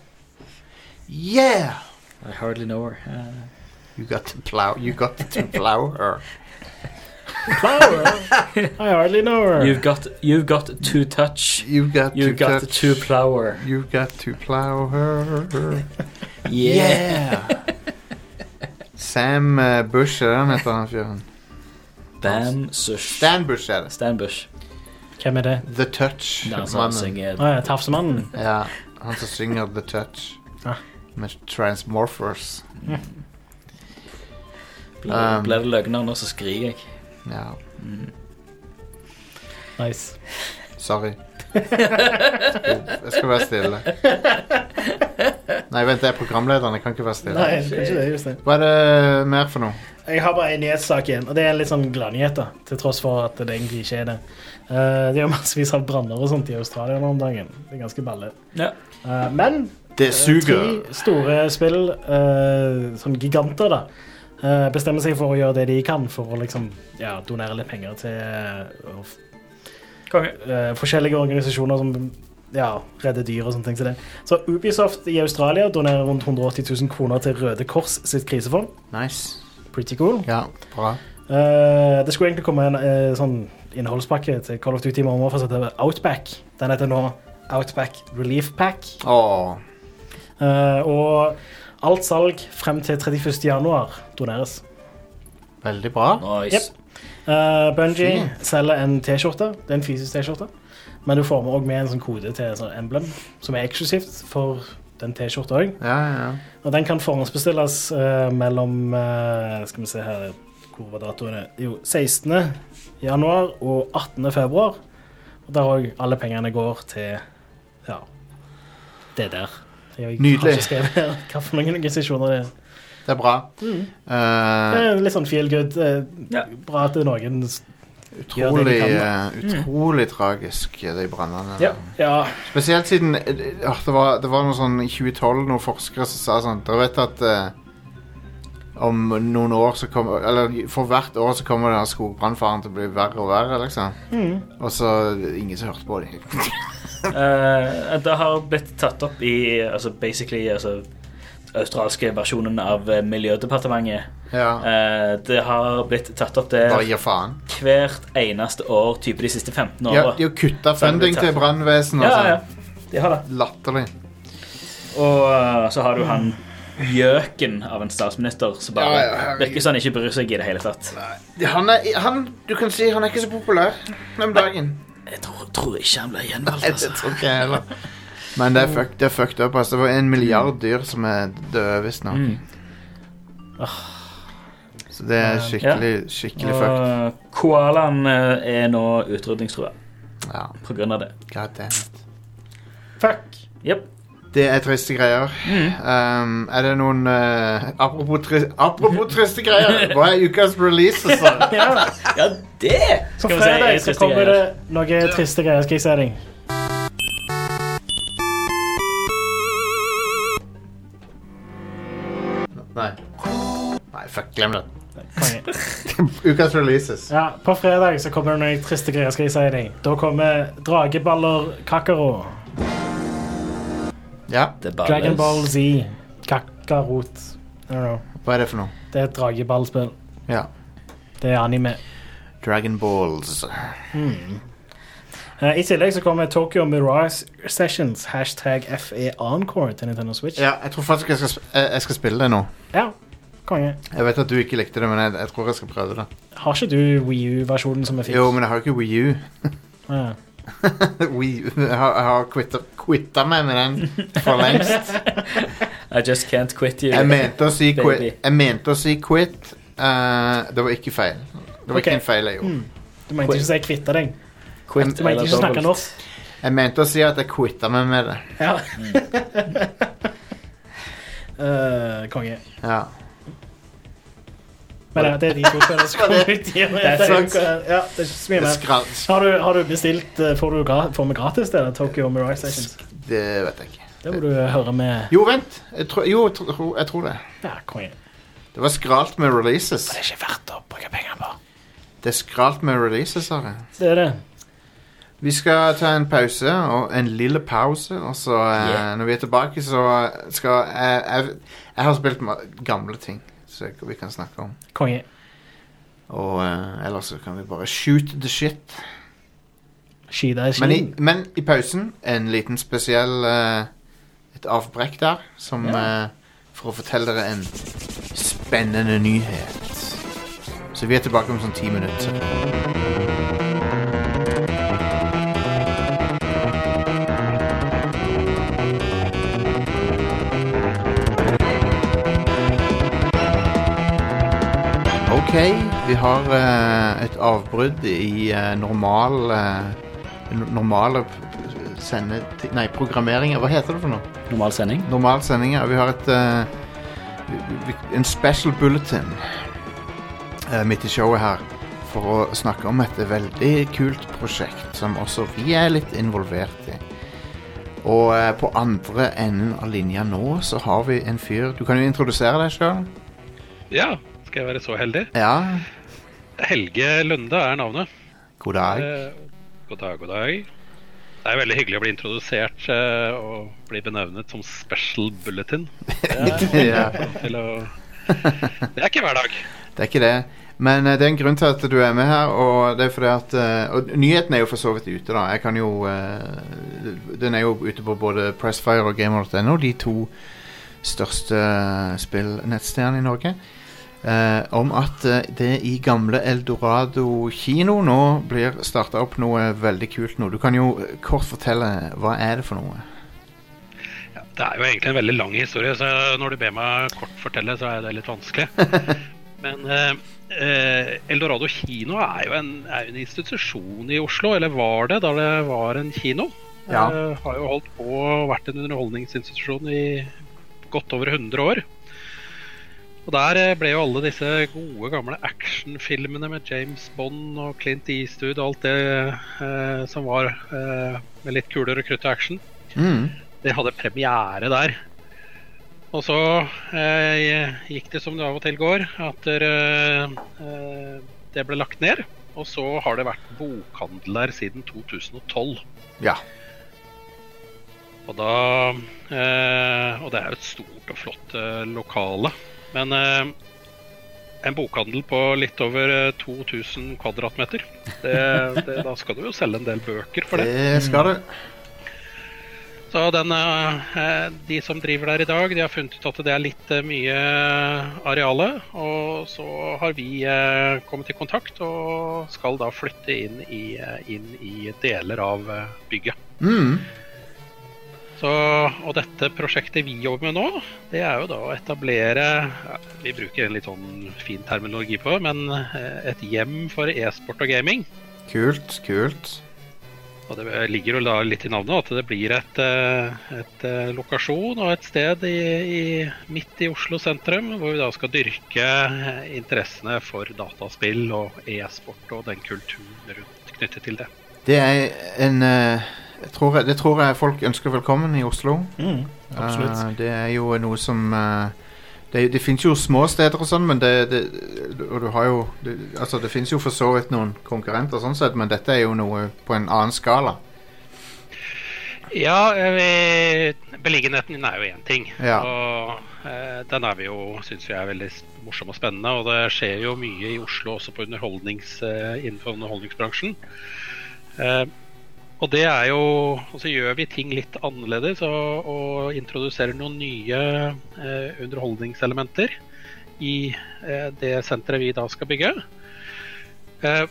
Yeah! I hardly know her. Uh, You got the plow. You got the flower. I hardly know her. you've, got, you've got to touch. You got You to got touch. to flower. You got to plow her. Yeah. Sam eh, Bush, er det han heter han fyren? Bam sush. Stan Bush er det. Stan Bush. Hvem er det? The Touch. Nei, altså, han mannen. synger Ah, ja, Tafsemannen. Ja, han som synger The Touch. Ah. Med Transmorphers. Blir Um, blir det løgner nå, så skriker jeg. Ja, Nice. sorry. Jeg skal være stille. Nei, vent, jeg er programlederen. Jeg kan ikke være stille. Nei, kanskje det, Jostein. Hva er det mer for noe? Jeg har bare en nyhetssak igjen, og det er en litt sånn gladnyhet, da, til tross for at det egentlig ikke er det. Eh, det er jo massevis av branner og sånt i Australia nå om dagen. Det er ganske balle. Ja. Eh, men Det suger. Tre store spill, eh, sånn giganter, da, eh, bestemmer seg for å gjøre det de kan for å liksom, ja, donere litt penger til eh, f- eh, forskjellige organisasjoner som ja, redder dyr og sånne ting. Til det. Så Ubisoft i Australia donerer rundt 180 000 kroner til Røde Kors sitt krisefond. Nice. Pretty cool. Ja, bra. Eh, det skulle egentlig komme en eh, sånn innholdspakke til Call of Duty i morgen for å sette Outback. Den heter nå Outback Relief Pack. Åh, Eh, og alt salg frem til 31. januar doneres. veldig bra. Nice. Uh, Bunji Fint. selger en T-skjorte. Det er en fysisk T-skjorte. Men du får med, også med en sånn kode til sånn emblem, som er eksklusivt for den T-skjorta òg. Ja, ja, ja. Og den kan forhåndsbestilles eh, mellom eh, Skal vi se her Hvor var datoene? Jo, 16. januar og 18. februar. Og der òg alle pengene går til Ja, det der. Jeg har Nydelig. ikke skrevet her hva for noen organisasjoner det er. Det er bra. Det Eh, er litt sånn feel good. eh, Ja. Bra at det er noen s- gjør utrolig det de kan, da. eh, utrolig tragisk, eh, de brannene. Ja. ja. Spesielt siden eh, åh, det, var, det var noe sånn i 2012 noen forskere som sa sånn Dere vet at eh, om noen år så kommer Eller for hvert år så kommer denne skogbrannfaren til å bli verre og verre, liksom. Og så eh, ingen som hørte på dem. Eh, det har blitt tatt opp i altså basically altså, australske versjonen av eh, Miljødepartementet. Ja. Eh, det har blitt tatt opp det Bare gir faen. hvert eneste år type de siste 15 Ja, altså. åra. de har kutta funding til brannvesenet og ja, sånn. ja. De har det. Latterlig. Og eh, så har du han gjøken av en statsminister som bare Ja, ja, herregud. virker som han ikke bryr seg i det hele tatt. Han er, han, du kan si han er ikke så populær den dagen. Jeg tror, tror ikke han ble gjenvalgt. altså. Nei, det tror ikke jeg heller. Men det er, fuck, det er fucked up. Altså. Det var en milliard dyr som er døde, visstnok. Så det er skikkelig, skikkelig fucked. Og koalaen eh, er nå utrydningstrua Ja, på grunn av det. god damn. Fuck. Jep. Det er triste greier. Um, er det noen eh, apropos, tri apropos triste greier, hva er ukas release? Altså? Ja. Ja, det På skal vi si er altså. fredag så triste kommer greier. det noen triste greier. Skal jeg si deg? Nei. Nei, fuck, glem det. Konge. Ukas releases. Ja, på fredag så kommer det noen triste greier, skal jeg si deg. Da kommer Drageballer Kakaro. Ja, Det er bare Dragon løs. Ball Z. Kakarot. I don't know. hva er det for noe? Det er et drageballspill. Ja. Det er anime. Dragon Balls. Eh, I tillegg så kommer Tokyo Mirage Sessions, hashtag FE Encore til Nintendo Switch. Ja, jeg tror faktisk jeg skal, sp jeg jeg skal spille det nå. Ja, konge. Jeg vet at du ikke likte det, men jeg, jeg tror jeg skal prøve det. Har ikke du Wii U-versjonen som jeg fikk? Jo, men jeg har jo ikke Wii U. Ja. Wii U. Jeg har, jeg har quitta, quitta meg med den for lengst. I just can't quit you. Jeg mente å si quit. Baby. Jeg mente å si quit. Eh, det var ikke feil. Det var Ok. ikke en feil jeg gjorde. Du mente ikke si kvitte deg. Quit Du mente eller ikke snakke dobbelt. norsk. Jeg mente å si at jeg quitta meg med det. Ja. Eh, konge. Ja. Men ja, det er de to spillene som kommer ut i år. er sant. Ja, det er ikke så mye Det, mer. skral, Har du, har du bestilt eh, Får du gra- får vi gratis det? Tokyo Mirage Sessions? det vet jeg ikke. Det må du eh, høre med Jo, vent. Jeg tror, jo, jeg tror- jeg tror det. Ja, konge. Det var skralt med releases. Det er ikke verdt å bruke penger på. Det er skralt med releases, Are. Det er det. Vi skal ta en pause, og en lille pause, og så eh, Yeah. når vi er tilbake, så skal jeg Jeg, jeg har spilt ma- gamle ting som vi kan snakke om. Konge. Og eh, ellers så kan vi bare shoot the shit. Skida er Men i, skien. men i pausen en liten spesiell eh, Et avbrekk der, som eh, For å fortelle dere en spennende nyhet. Så vi er tilbake om sånn ti minutter. Ok, vi har eh, et avbrudd i eh, normal eh, n- normale p- sendeti- Nei, programmeringer. Hva heter det for noe? Normal sending. Normal sendinger. Vi har et eh, vi- vi- en special bulletin eh, midt i showet her for å snakke om et veldig kult prosjekt som også vi er litt involvert i. Og eh, på andre enden av linja nå så har vi en fyr Du kan jo introdusere deg sjøl. Ja, skal jeg være så heldig? Ja. Helge Lunde er navnet. God dag. Eh, God dag, god dag. Det er veldig hyggelig å bli introdusert eh, og bli benevnet som special bulletin. Eh, ja. Til å... Det er ikke hver dag. Det er ikke det. Men eh, det er en grunn til at du er med her, og det er fordi at eh, Og nyheten er jo for så vidt ute, da. Jeg kan jo eh, Den er jo ute på både Pressfire og gamer.no, de to største spillnettstedene i Norge. eh, om at eh, det i gamle Eldorado kino nå blir starta opp noe veldig kult nå. Du kan jo eh, kort fortelle hva er det for noe. Ja, det er jo egentlig en veldig lang historie, så når du ber meg kort fortelle, så er det litt vanskelig. Men eh, eh, Eldorado kino er jo en, er jo en institusjon i Oslo, eller var det da det var en kino? Ja. Eh, har jo holdt på og vært en underholdningsinstitusjon i godt over 100 år. Og der eh, ble jo alle disse gode, gamle actionfilmene med James Bond og Clint Eastwood og alt det eh, som var eh, med litt kuler og krutt og action. Mm. De hadde premiere der. Og så eh, gikk det som det av og til går, at der, eh, eh, det ble lagt ned. Og så har det vært bokhandel der siden 2012. Ja. Og, da, eh, og det er jo et stort og flott eh, lokale. Men eh, en bokhandel på litt over eh, 2000 kvadratmeter, det, det, da skal du jo selge en del bøker for det. Det skal du. Så den, eh, de som driver der i dag, de har funnet ut at det er litt eh, mye areale. Og så har vi eh, kommet i kontakt og skal da flytte inn i, eh, inn i deler av eh, bygget. Mm. Så, og dette prosjektet vi jobber med nå, det er jo da å etablere ja, Vi bruker en litt sånn fin terminologi på det, men eh, et hjem for e-sport og gaming. Kult, kult. Og det ligger jo da litt i navnet at det blir et, eh, et eh, lokasjon og et sted i, i, midt i Oslo sentrum, hvor vi da skal dyrke eh, interessene for dataspill og e-sport og den kulturen rundt knyttet til det. Det er en eh, jeg tror, jeg- Det tror jeg folk ønsker velkommen i Oslo. Mm, absolutt. Eh, det er jo noe som eh, Det, det fins jo små steder og sånn, men det, det Og du har jo det, Altså, det fins jo for så vidt noen konkurrenter, sånn sett, men dette er jo noe på en annen skala. Ja, eh, beliggenheten er jo én ting. Ja. Og eh, den er vi jo, syns vi er veldig s- morsom og spennende. Og det skjer jo mye i Oslo også på underholdnings, eh, innenfor underholdningsbransjen. Eh, og det er jo Og så gjør vi ting litt annerledes og, og introduserer noen nye eh, underholdningselementer i eh, det senteret vi da skal bygge. Eh,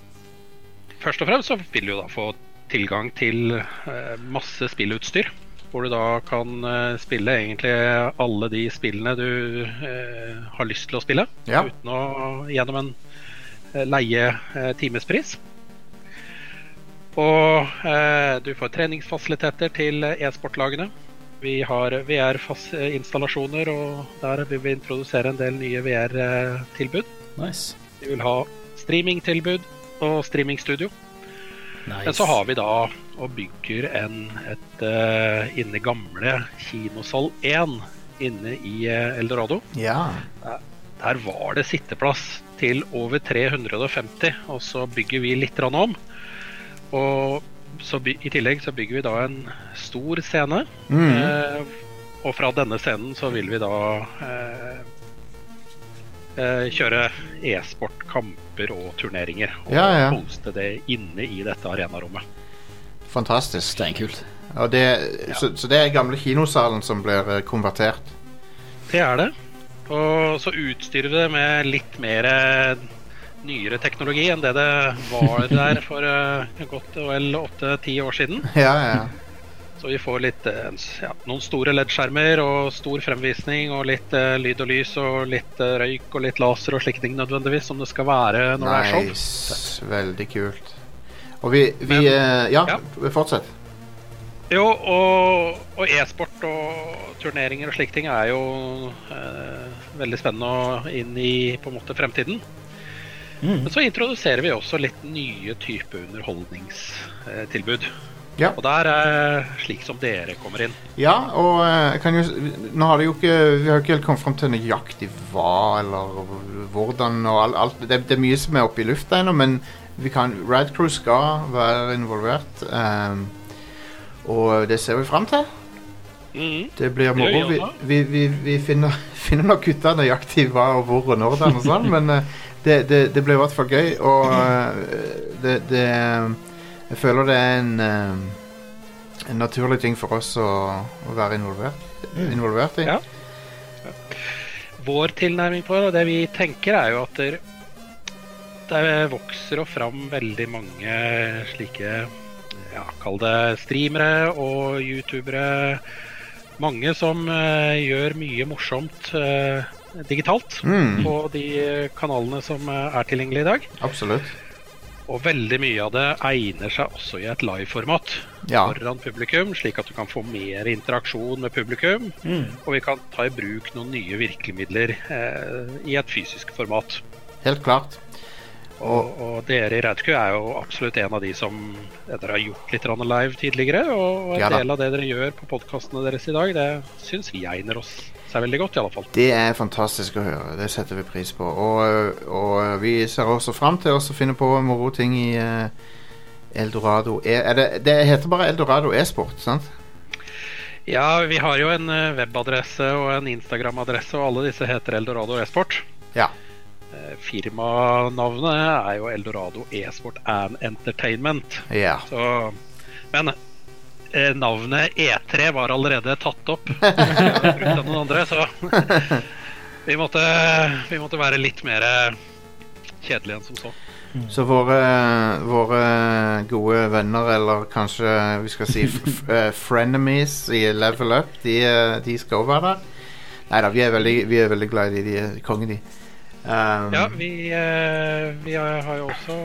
først og fremst så vil du jo da få tilgang til eh, masse spillutstyr. Hvor du da kan eh, spille egentlig alle de spillene du eh, har lyst til å spille. Ja. Uten å gjennom en eh, leie eh, timespris. Og eh, du får treningsfasiliteter til e-sportlagene. Vi har VR-installasjoner, og der vil vi introdusere en del nye VR-tilbud. Nice. Vi vil ha streamingtilbud og streamingstudio. Men så har vi da og bygger en, et eh, inne i gamle kinosal 1 inne i eh, Eldorado. Ja. Der- Der var det sitteplass til over 350, og så bygger vi litt grann om. Og så by i tillegg så bygger vi da en stor scene. Mhm. Eh, og fra denne scenen så vil vi da eh, eh, kjøre e-sportkamper og turneringer. Og Ja, ja. poste det inne i dette arenarommet. Fantastisk. Steinkult. Og det, så, så det er gamle kinosalen som blir eh, konvertert. Det er det. Og så utstyrer vi det med litt mer eh, nyere teknologi enn det det var der for eh, godt og vel åtte-ti år siden. Ja, ja. Så vi får litt, eh, s- ja, noen store LED-skjermer og stor fremvisning og litt eh, lyd og lys og litt eh, røyk og litt laser og slike ting nødvendigvis, som det skal være når det er sånn. Nice. Veldig kult. Og vi, vi eh, ja, fortsett. Jo, og, og e-sport og turneringer og slike ting er jo eh, veldig spennende og inn i på en måte fremtiden. Men så introduserer vi også litt nye type underholdningstilbud. Ja. Og der er slik som dere kommer inn. Ja, og eh, jeg kan jo, s- nå har det jo ikke Vi har jo ikke helt kommet fram til nøyaktig hva eller hvordan og alt. alt. Det, det er mye som er oppe i lufta ennå, men vi kan, Ride Crew skal være involvert. ehm, og det ser vi fram til. Det blir Det gjør moro. Vi, jeg også. vi, vi, vi finner, finner nok ut av nøyaktig hva og hvor og når det er og sånn, men eh, det, det, det blir i hvert fall gøy, og eh, det, det Jeg føler det er en, eh, en naturlig ting for oss å, å være involvert, involvert i. Ja. Vår tilnærming på det, og det vi tenker, er jo at der, det vokser og fram veldig mange slike ja, Kall det streamere og youtubere. Mange som eh, gjør mye morsomt eh, digitalt Mm. på de kanalene som eh, er tilgjengelige i dag. Absolutt. Og veldig mye av det egner seg også i et live-format Ja. foran publikum, slik at du kan få mer interaksjon med publikum. Mm. Og vi kan ta i bruk noen nye virkemidler eh, i et fysisk format. Helt klart. Og, og dere i Radku er jo absolutt en av de som dere har gjort litt grann live tidligere. Og en Ja da. del av det dere gjør på podkastene deres i dag, det syns vi egner oss seg veldig godt, i alle fall. Det er fantastisk å høre. Det setter vi pris på. Og, og vi ser også fram til oss å finne på moro ting i eh, Eldorado e er det, det heter bare Eldorado e-sport, sant? Ja, vi har jo en eh, webadresse og en Instagram-adresse, og alle disse heter Eldorado e-sport. Ja. Eh, Firmanavnet er jo Eldorado e-sport and entertainment. Ja. Så, men eh, navnet E3 var allerede tatt opp. Brukt av noen andre, så vi måtte, vi måtte være litt mer eh, kjedelige enn som så. Så våre, våre gode venner, eller kanskje vi skal si f- f- eh, frenemies i Level Up, de, eh, de skal også være der. Nei da, vi, er veldig- vi er veldig glad i de, de er kongen, de. Um, Ja, vi, eh, vi har har jo også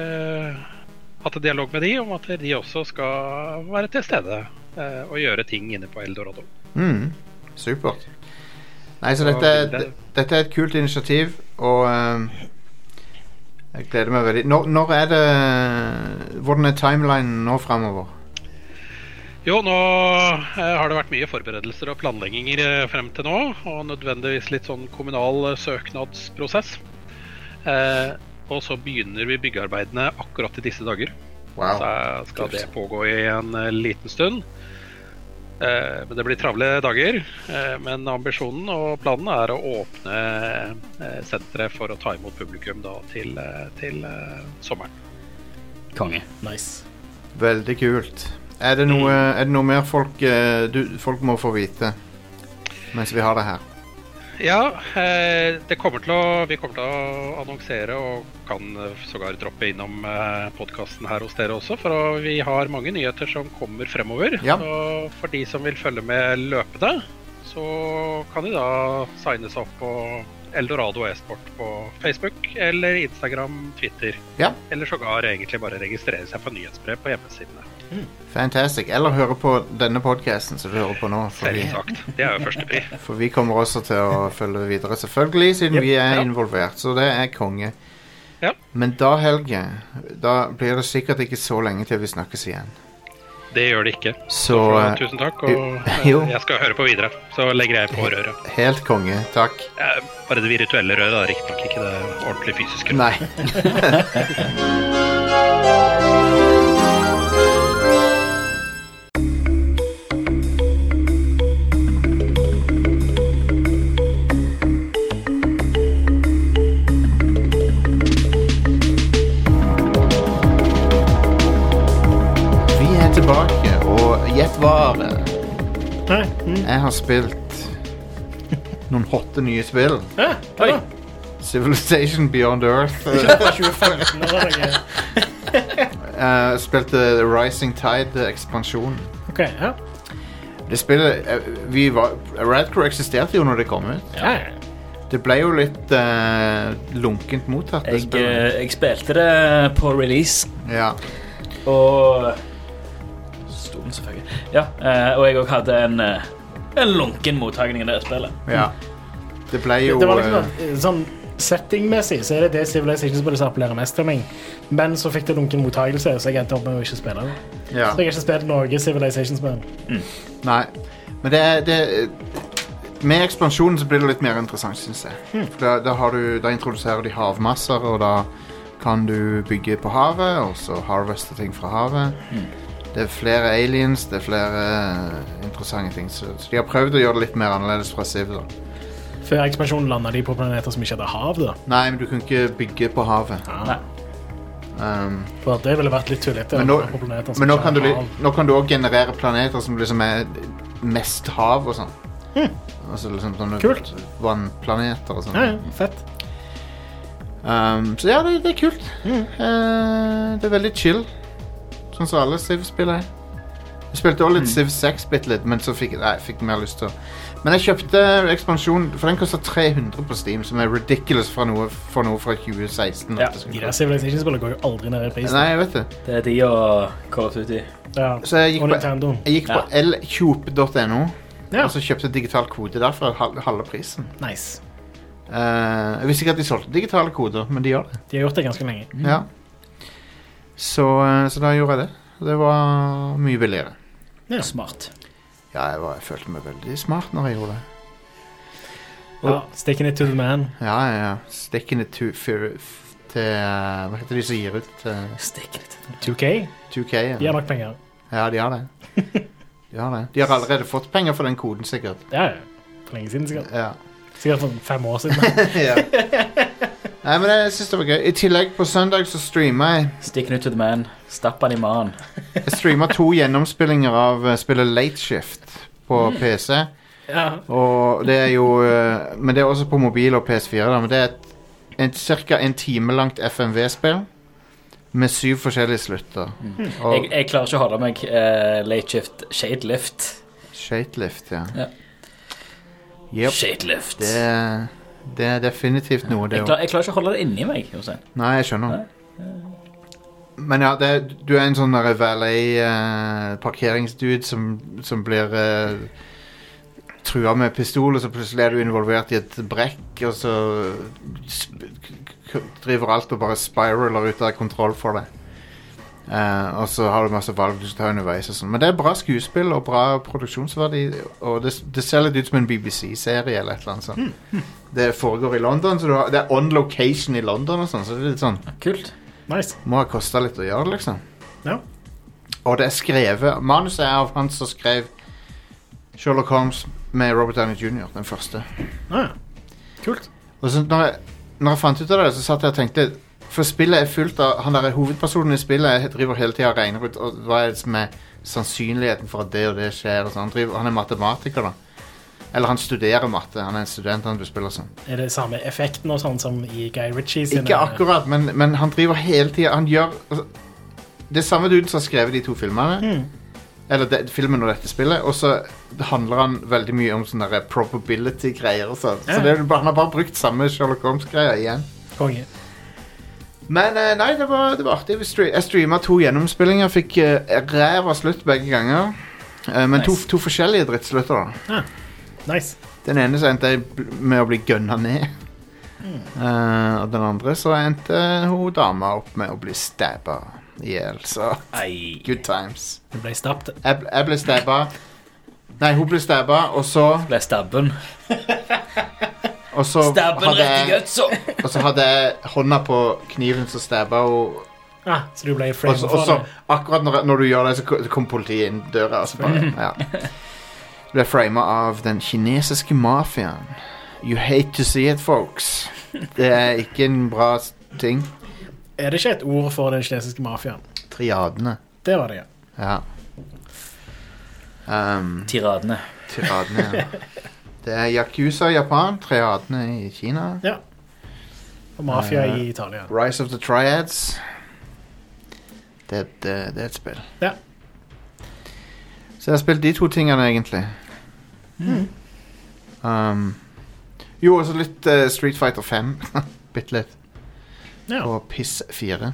eh, hatt en dialog med de om at de også skal være til stede eh, og gjøre ting inne på Eldorado. Mm, supert. Nei, så Så dette, er- det- dette er et kult initiativ, og ehm, jeg gleder meg veldig. Når, når er det Hvordan er timelinen nå framover? Jo, nå eh, har det vært mye forberedelser og planlegginger eh, frem til nå, og nødvendigvis litt sånn kommunal eh, søknadsprosess. Eh, og så begynner vi byggearbeidene akkurat i disse dager. Wow. Så skal det pågå i en eh, liten stund. Eh, men det blir travle dager. Eh, men ambisjonen og planen er å åpne eh, senteret for å ta imot publikum da til, eh, til eh, sommeren. Konge. Nice. Veldig kult. Er det noe, Mm. er det noe mer folk, eh, du, folk må få vite mens vi har det her? Ja, eh, det kommer til å, vi kommer til å annonsere og kan eh, sågar droppe innom eh, podkasten her hos dere også, for å- vi har mange nyheter som kommer fremover. Ja. Så for de som vil følge med løpende, så kan de da signe seg opp på Eldorado e-sport på Facebook eller Instagram, Twitter. Ja. Eller sågar egentlig bare registrere seg på nyhetsbrev på hjemmesidene. Fantastic. Eller høre på denne podkasten som du hører på nå. For vi, Selvsagt. Det er jo førstepri. for vi kommer også til å følge videre, selvfølgelig, siden vi er involvert. Så det er konge. Ja. Men da, Helge, da blir det sikkert ikke så lenge til vi snakkes igjen. Det gjør det ikke. Så, Så eh, tusen takk, jo- og eh, jo. jeg skal høre på videre. Så legger jeg på røret. Helt konge. Takk. Eh, Bare det virtuelle røret, da. Riktignok ikke det ordentlig fysiske. Nei. Vi er tilbake, og gjett hva? Are? mm, Jeg har spilt noen hotte nye spill. Ja, hva da? Civilization Beyond Earth. Fra 2015 eller noe. Eh, spilte Rising Tide-ekspansjon. Ok, ja. Det spillet eh, vi var, Radcrow eksisterte jo når det kom ut. Ja. Det ble jo litt eh, lunkent mottatt, det Jeg, spillet. eh, jeg spilte det på release. Ja. Og Stolen, selvfølgelig. Ja, eh, og jeg òg hadde en, eh, en lunken mottakning av det spillet. ja. Det ble Det, jo det var eh, liksom at, eh, sånn settingmessig så er det det Civilization Spillet som appellerer mest til meg. Men så fikk det lunken mottakelse, så jeg endte opp med å ikke spille det. ja. Så jeg har ikke spilt noe Civilization Spill. Nei. Men det, er- det Med ekspansjonen så blir det litt mer interessant, syns jeg. Hmm. For da, da, har du, da introduserer de havmasser, og da kan du bygge på havet, og så harveste ting fra havet. Hmm. Det er flere aliens, det er flere eh, interessante ting. Så, så de har prøvd å gjøre det litt mer annerledes fra Civ. Da. Før ekspansjonen landa de på planeter som ikke hadde hav, da. Nei, men du kan ikke bygge på havet. Nei. Um, For det ville vært litt tullete. men nå, på planeter som men nå ikke kan du hadde li- hav. nå kan du òg generere planeter som liksom er mest hav og sånn. Altså liksom sånne Hmm. Kult. vannplaneter og sånn. Ja, ja, fett. Um, så ja, det, det er kult. Eh, det er veldig chill. Sånn som alle Siv-spill er. Jeg spilte også litt Siv 6 bitte litt, men så fikk nei, jeg fikk mer lyst til å Men jeg kjøpte ekspansjon, for den koster 300 på Steam, som er ridiculous for noe, for noe fra 2016. Ja, at det skulle De koste. der Civilization-spillene går jo aldri ned i pris. Nei, jeg vet det. Det er de og Call of Duty. Ja. Så jeg gikk Og på- Nintendo. Jeg gikk på Ja. lkjop.no Ja. og så kjøpte digital kode der for hal- halve prisen. Nice. Eh, jeg visste ikke at de solgte digitale koder, men de gjør det. De har gjort det ganske lenge. Ja. Så, eh, så da gjorde jeg det. Og Det var mye billigere. Ja. Smart. Ja, jeg, var, jeg følte meg veldig smart når jeg gjorde det. Ja. Sticking it to the man. Ja, ja, ja. Stikkene to, fyr- f- til eh, Hva heter de som gir ut eh, Stikk litt. 2K. 2K? Ja. De har nok penger. ja, de har det. De har det. De har allerede fått penger for den koden, sikkert. Ja, ja. For lenge siden, sikkert. Ja. Sikkert for fem år siden. ja. Nei, men jeg synes det var gøy. I tillegg, på søndag så streama jeg Stick it to the man. Stapp han i magen. Jeg streama to gjennomspillinger av eh, spillet Late Shift på Mm. PC. Ja. Og det er jo eh, Men det er også på mobil og PS4, da. Men det er et, et ca. en time langt FMV-spill med syv forskjellige slutter. Mm. Jeg, jeg klarer ikke å holde meg eh, late shift shade lift. Shadelift, ja. Ja. Yep. Shadelift. Det, er- det er definitivt noe, det Jeg, klar, jeg klarer ikke å holde det inni meg. Jostein. Nei, jeg skjønner. Men ja, det, er- du er en sånn der valet-parkeringsdude som, som blir eh, trua med pistol, og så plutselig er du involvert i et brekk, og så sp k- driver alt og bare spiraler ut av kontroll for deg. Eh, og så har du masse valg du skal ta underveis. og sånn Men det er bra skuespill og bra produksjonsverdi, og det, det ser litt ut som en BBC-serie eller et eller annet sånt det foregår i London, så du har, det er on location i London og sånn, så det er litt sånn Kult. Nice. Må ha kosta litt å gjøre det, liksom. Ja. Og det er skrevet Manuset er av han som skrev Sherlock Holmes med Robert Downey jr., den første. Ah, kult. Og så når jeg, når jeg fant ut av det, så satt jeg og tenkte For spillet er fullt av Han der hovedpersonen i spillet driver hele tida og regner ut og hva er det som er sannsynligheten for at det og det skjer. Og sånn. han, driver, han er matematiker, da. Eller han studerer matte. Han er en student, han sånn. du spiller som. Er det samme effekten og sånn som i Guy Ritchie sine Ikke akkurat, men, men han driver hele tida Han gjør altså, Det er samme duden som har skrevet de to filmene. Mm. Eller de, filmen og dette spillet. Og så handler han veldig mye om sånne der probability-greier. og sånn. Så Ja. det, er jo bare- han har bare brukt samme Sherlock Holmes-greia igjen. Konge. Men eh, nei, det var, det var artig. Vi stre- Jeg streama to gjennomspillinger. Fikk uh, ræva slutt begge ganger. Eh, men Nice. to, to forskjellige drittslutter. da. Ah, nice. Den ene så endte jeg bl- med å bli gønna ned. Mm. Eh, og den andre så endte hun dama opp med å bli stabba i hjel, så Good times. Hun ble stappet. Jeg, bl- jeg ble stabba. Nei, hun ble stabba, og så Ble stabben. Og så Stabben hadde rett i jeg- gutsa. Og så hadde jeg hånda på kniven som stabba henne. Ah, så du ble Og framed så- for og så, det? akkurat når, når du gjør det, så ko- så kom politiet inn døra. Og så bare, ja. Du er frama av den kinesiske mafiaen. You hate to see it, folks. Det er ikke en bra s- ting. Er det ikke et ord for den kinesiske mafiaen? Triadene. Det var det, ja. Ja. Um, Tiradene. Tiradene, ja. Det er Yakuza i Japan, triadene i Kina. Ja. Og mafia Eh, i Italia. Rise of the Triads. Det, er et- eh, det, det er et spill. Ja. Så jeg har spilt de to tingene, egentlig. Mm. Um, jo, og så litt eh, Street Fighter 5. Bitte litt. Ja. Og Piss 4.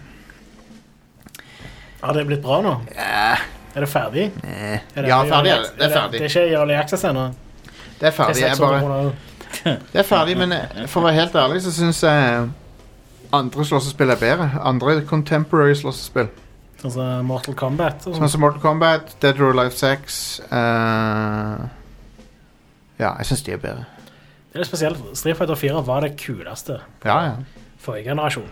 Har det blitt bra nå? Ja. Er det ferdig? Eh. Er Ja, i ferdig er det. early ac- Det er Det ferdig. er ikke i Early Access ennå. Det er ferdig. Til Jeg bare, 600 kroner. det er ferdig, men eh, for å være helt ærlig så syns jeg andre slåssespill er bedre. Andre contemporary slåssespill. Sånn som Mortal Kombat. og Sånn sånn. som Mortal Kombat, Dead or Alive 6 eh, Ja, jeg syns de er bedre. Det er spesielt. Street Fighter 4 var det kuleste Ja, ja. forrige generasjon.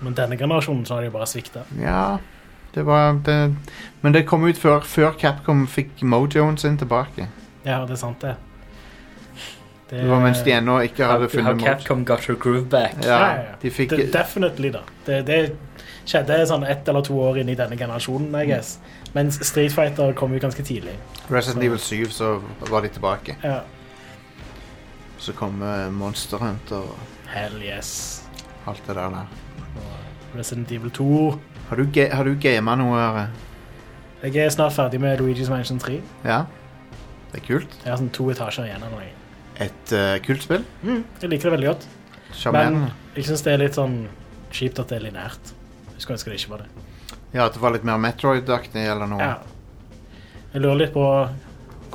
Men denne generasjonen så har de bare svikta. ja det var det, Men det kom ut før, før Capcom fikk mojoen sin tilbake. Ja, det er sant, det. Det var mens de ennå ikke How, hadde how funnet mojoen. Capcom got her groove back. Ja, Ja, ja, ja. de fikk Det, definitely, da. Det, det skjedde sånn ett eller to år inn i denne generasjonen, Mm. I guess. Mens Street Fighter kom jo ganske tidlig. Resident Evil 7, så var de tilbake. Ja. Så kom eh, Monster Hunter og Hell yes. alt det der der. Resident Evil 2. Har du, ga- har du gama noe? eh, Are? Jeg er snart ferdig med Luigi's Mansion 3. Ja? Det er kult. Jeg har sånn to etasjer igjen. eller noe. Et eh, kult spill. Mm, jeg liker det veldig godt. Sjarmerende. Men jeg syns det er litt sånn kjipt at det er lineært. Jeg skulle ønske det ikke var det. Ja, at det var litt mer Metroid-aktig eller noe. Ja. Jeg lurer litt på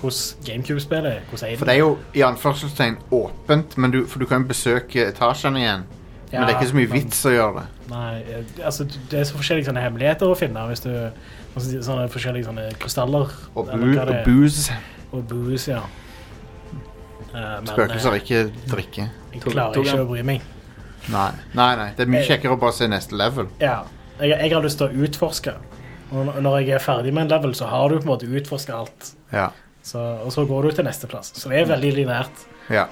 hvordan GameCube-spillet er. Hvordan er For det er jo i anførselstegn åpent, men du, for du kan jo besøke etasjene igjen. men det er ikke så mye men- vits å gjøre det. Nei, eh, altså det er så forskjellige sånne hemmeligheter å finne hvis du altså, Sånne forskjellige sånne krystaller. Og, eller bu hva og det er. booze. Og booze, ja. Eh, men, Spøkelser, eh, ikke drikke. Jeg klarer Tog- tog ikke han- å bry meg. Nei, nei, nei. det er mye Eh. kjekkere å bare se neste level. Ja, jeg, jeg har lyst til å utforske. Og når- når jeg er ferdig med en level, så har du på en måte utforska alt. Ja. Så, og så går du til neste plass. Så det er veldig lineært. ja.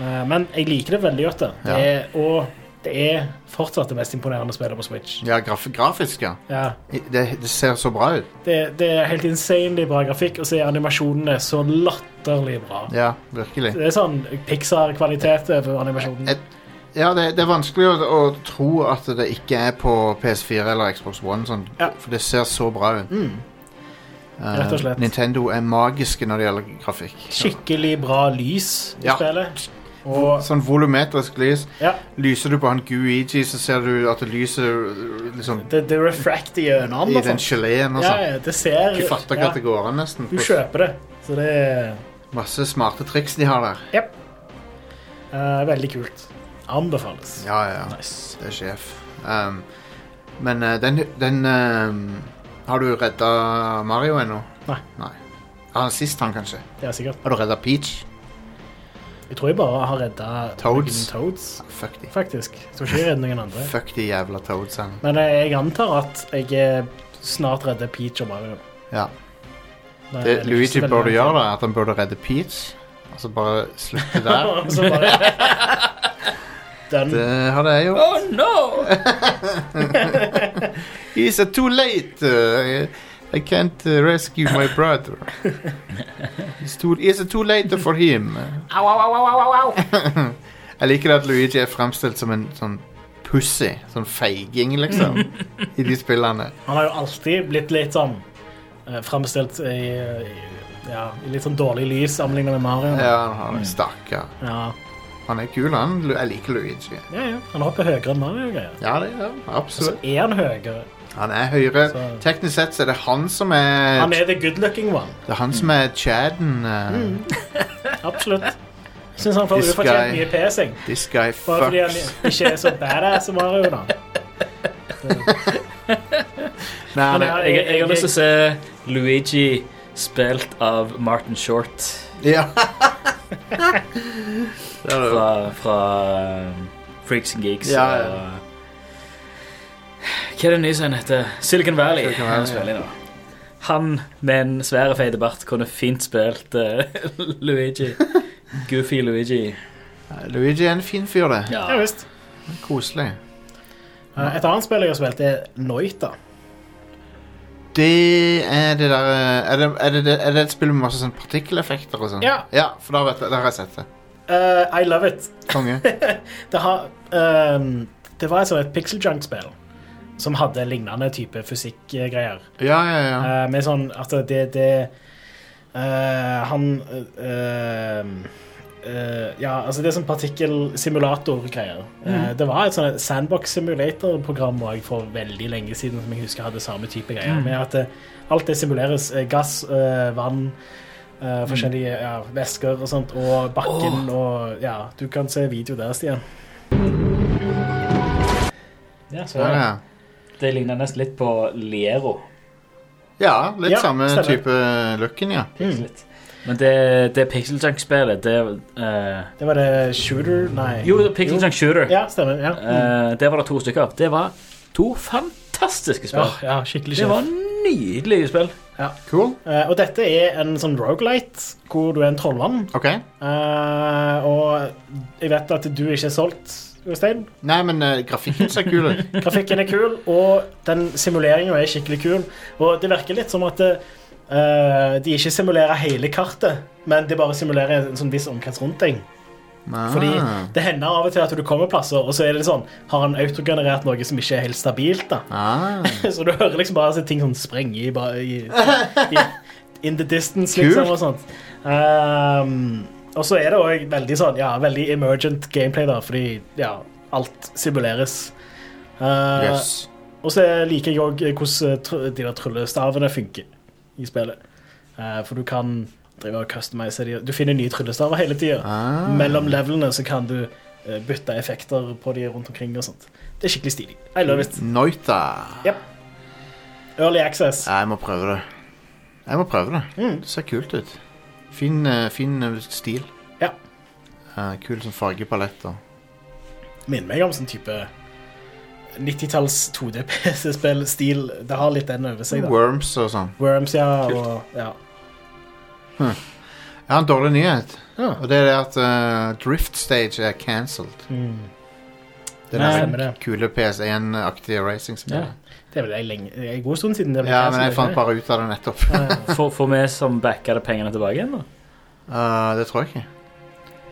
Eh, men jeg liker det veldig godt. Det. Det Ja. er, og det er fortsatt det mest imponerende spillet på Switch. Ja, graf grafisk, ja. Ja. Det, det ser så bra ut. Det, det er helt insanely bra grafikk, og så er animasjonene så latterlig bra. Ja, virkelig. Det er sånn Pixar-kvalitet over animasjonen. Ja, det, det er vanskelig å, å tro at det ikke er på PS4 eller Xbox One, sånn, for det ser så bra ut. Mm. Eh, Rett og slett. Nintendo er magiske når det gjelder grafikk. Skikkelig bra lys i Ja. spillet. Og Sånn volumetrisk lys. Ja. Lyser du på han Guigi, så ser du at det lyser liksom det, det refracter gjennom. i den geleen og altså. Ja, sånn. ja, det ser Du fatter ikke ja. at det går an, nesten. Du kjøper det, så det er Masse smarte triks de har der. eh, veldig kult. Anbefales. Ja, ja. Det er sjef. Um, men eh, den, den ehm, Har du redda Mario ennå? Nei. Nei. Ja, han sist, han, kanskje. Det er sikkert. Har du redda Peach? Jeg tror jeg bare har redda Toads? noen Toads, Fuck de. faktisk. Jeg tror ikke jeg redder noen andre. Fuck de jævla Toadsene. Men eh, jeg antar at jeg eh, snart redder Peach og Mario. Ja. Det Nei, det er ikke Luigi så veldig burde langt gjøre, igjen. da, er at han burde redde Peach, og så bare slutte der. Og så bare- Den. det hadde jeg gjort. Oh no! He's too late. Uh, I can't uh, rescue my brother. It's too, it's too late for him. Au, au, au, au, au, au! Jeg liker det at Luigi er fremstilt som en sånn pussy. Sånn feiging, liksom. I de spillene. Han har jo alltid blitt litt sånn eh, framstilt i, i, ja, i litt sånn dårlig lys sammenlignet med Mario. Ja, han har Stakkar. Ja. Han er kul, han. Lu- Jeg liker Luigi. Ja, ja. Han hopper høyere enn Mario. og greier. Ja, det er han. Så Absolutt. er han høyere. Han er høyere. Så- Teknisk sett så er det han som er Altså, Han er the good looking one. Det er han som er chaden. Uh, Mm. Absolutt. Jeg syns han får This ufortjent guy. mye pesing. This guy Bare fordi han fucks. ikke er så badass som Mario, da. Nei, han er, han er- Jeg, jeg har lyst til å se Luigi spilt av Martin Short ja. Det er det jo. fra, fra eh, Freaks and Geeks. Ja, ja. og- eh, Hva er det nye som han heter? Silicon Valley. Silicon Valley, Han spiller i nå. Han med en svær feit bart kunne fint spilt eh, Luigi. Goofy Luigi. Luigi er en fin fyr, det. Ja. Ja visst. Koselig. Eh, Et annet spill jeg har spilt, er Noita. Det er det der eh, Er det, er det, er det et spill med masse sånn partikkeleffekter og sånn? Ja. for da vet jeg, der har jeg sett det. Eh, I love it. Konge. Det, har, ehm, det var et sånt et pixel junk-spill som hadde lignende type fysikkgreier. Ja, ja, ja. Eh, med sånn at det, det eh, Han eh, eh, Ja, altså det er sånn partikkelsimulator-greier. Mm. Eh, det var et sånn sandbox-simulator-program også for veldig lenge siden som jeg husker hadde samme type greier. Mm. Med at eh, alt det simuleres. eh, gass, eh, vann, eh, forskjellige Mm. ja, væsker og sånt, og bakken og Ja, du kan se video der, Stian. Ja, så, Mm. ja, ja. Det ligner nesten litt på Liero. Mm. ja litt Ja, samme stemmer. type looken, ja. Litt. Men det, det Pixel Junk-spillet, det eh, Det var det Shooter Nei. Jo, Mm. Pixel Junk Shooter. Ja, stemmer. ja. Eh, der var det to stykker av. Det var to fantastiske spill. Ja, ja, skikkelig det kjekt. var nydelige spill. Cool. Eh, og dette er en sånn roguelite, hvor du er en trollmann. OK. Eh, og jeg vet at du ikke er solgt, Jostein. Nei, men eh, grafikken ser kul ut. Grafikken er kul, og den simuleringen er skikkelig kul. Og det virker litt som at eh, de ikke simulerer hele kartet, men de bare simulerer en sånn viss omkrets rundt deg. Ah. Fordi det hender av og til at du kommer plasser, og så er det sånn, har han autogenerert noe som ikke er helt stabilt. da. ah. Så du hører liksom bare så ting sånn sprenge i, ba- i, i In the distance, liksom, Kult. og sånt. Ehm, og så er det òg veldig sånn, ja, veldig emergent gameplay, da, fordi ja, alt simuleres. Eh, Yes. Og så liker jeg òg hvordan eh, tr- de der tryllestavene funker i spillet. Eh, for du kan drive og customize de. Du finner nye tryllestaver hele tida. Ah. Mellom levelene så kan du eh, bytte effekter på de rundt omkring og sånt. Det er skikkelig stilig. I love it. Noita. Early access. Ja, jeg må prøve det. Jeg må prøve det. Mm. Det ser kult ut. Fin, eh, fin eh, stil. Ja. Eh, kul sånn fargepalett og minner meg om sånn type 90-talls 2D-PC-spill-stil. Det har litt den over seg, da. Worms og sånn. Worms, ja. Og, ja. Jeg har en dårlig nyhet. Og det er det at eh, Drift Stage er cancelled. Det Mm. Nei. er Stemmer den det. kule PS1-aktige racing som Ja. er Det er vel en lenge, det er en god stund siden. Det ble Ja, men jeg som jeg fant det. bare ut av det nettopp. Får får vi som backa det pengene tilbake igjen, da? Eh, det tror jeg ikke.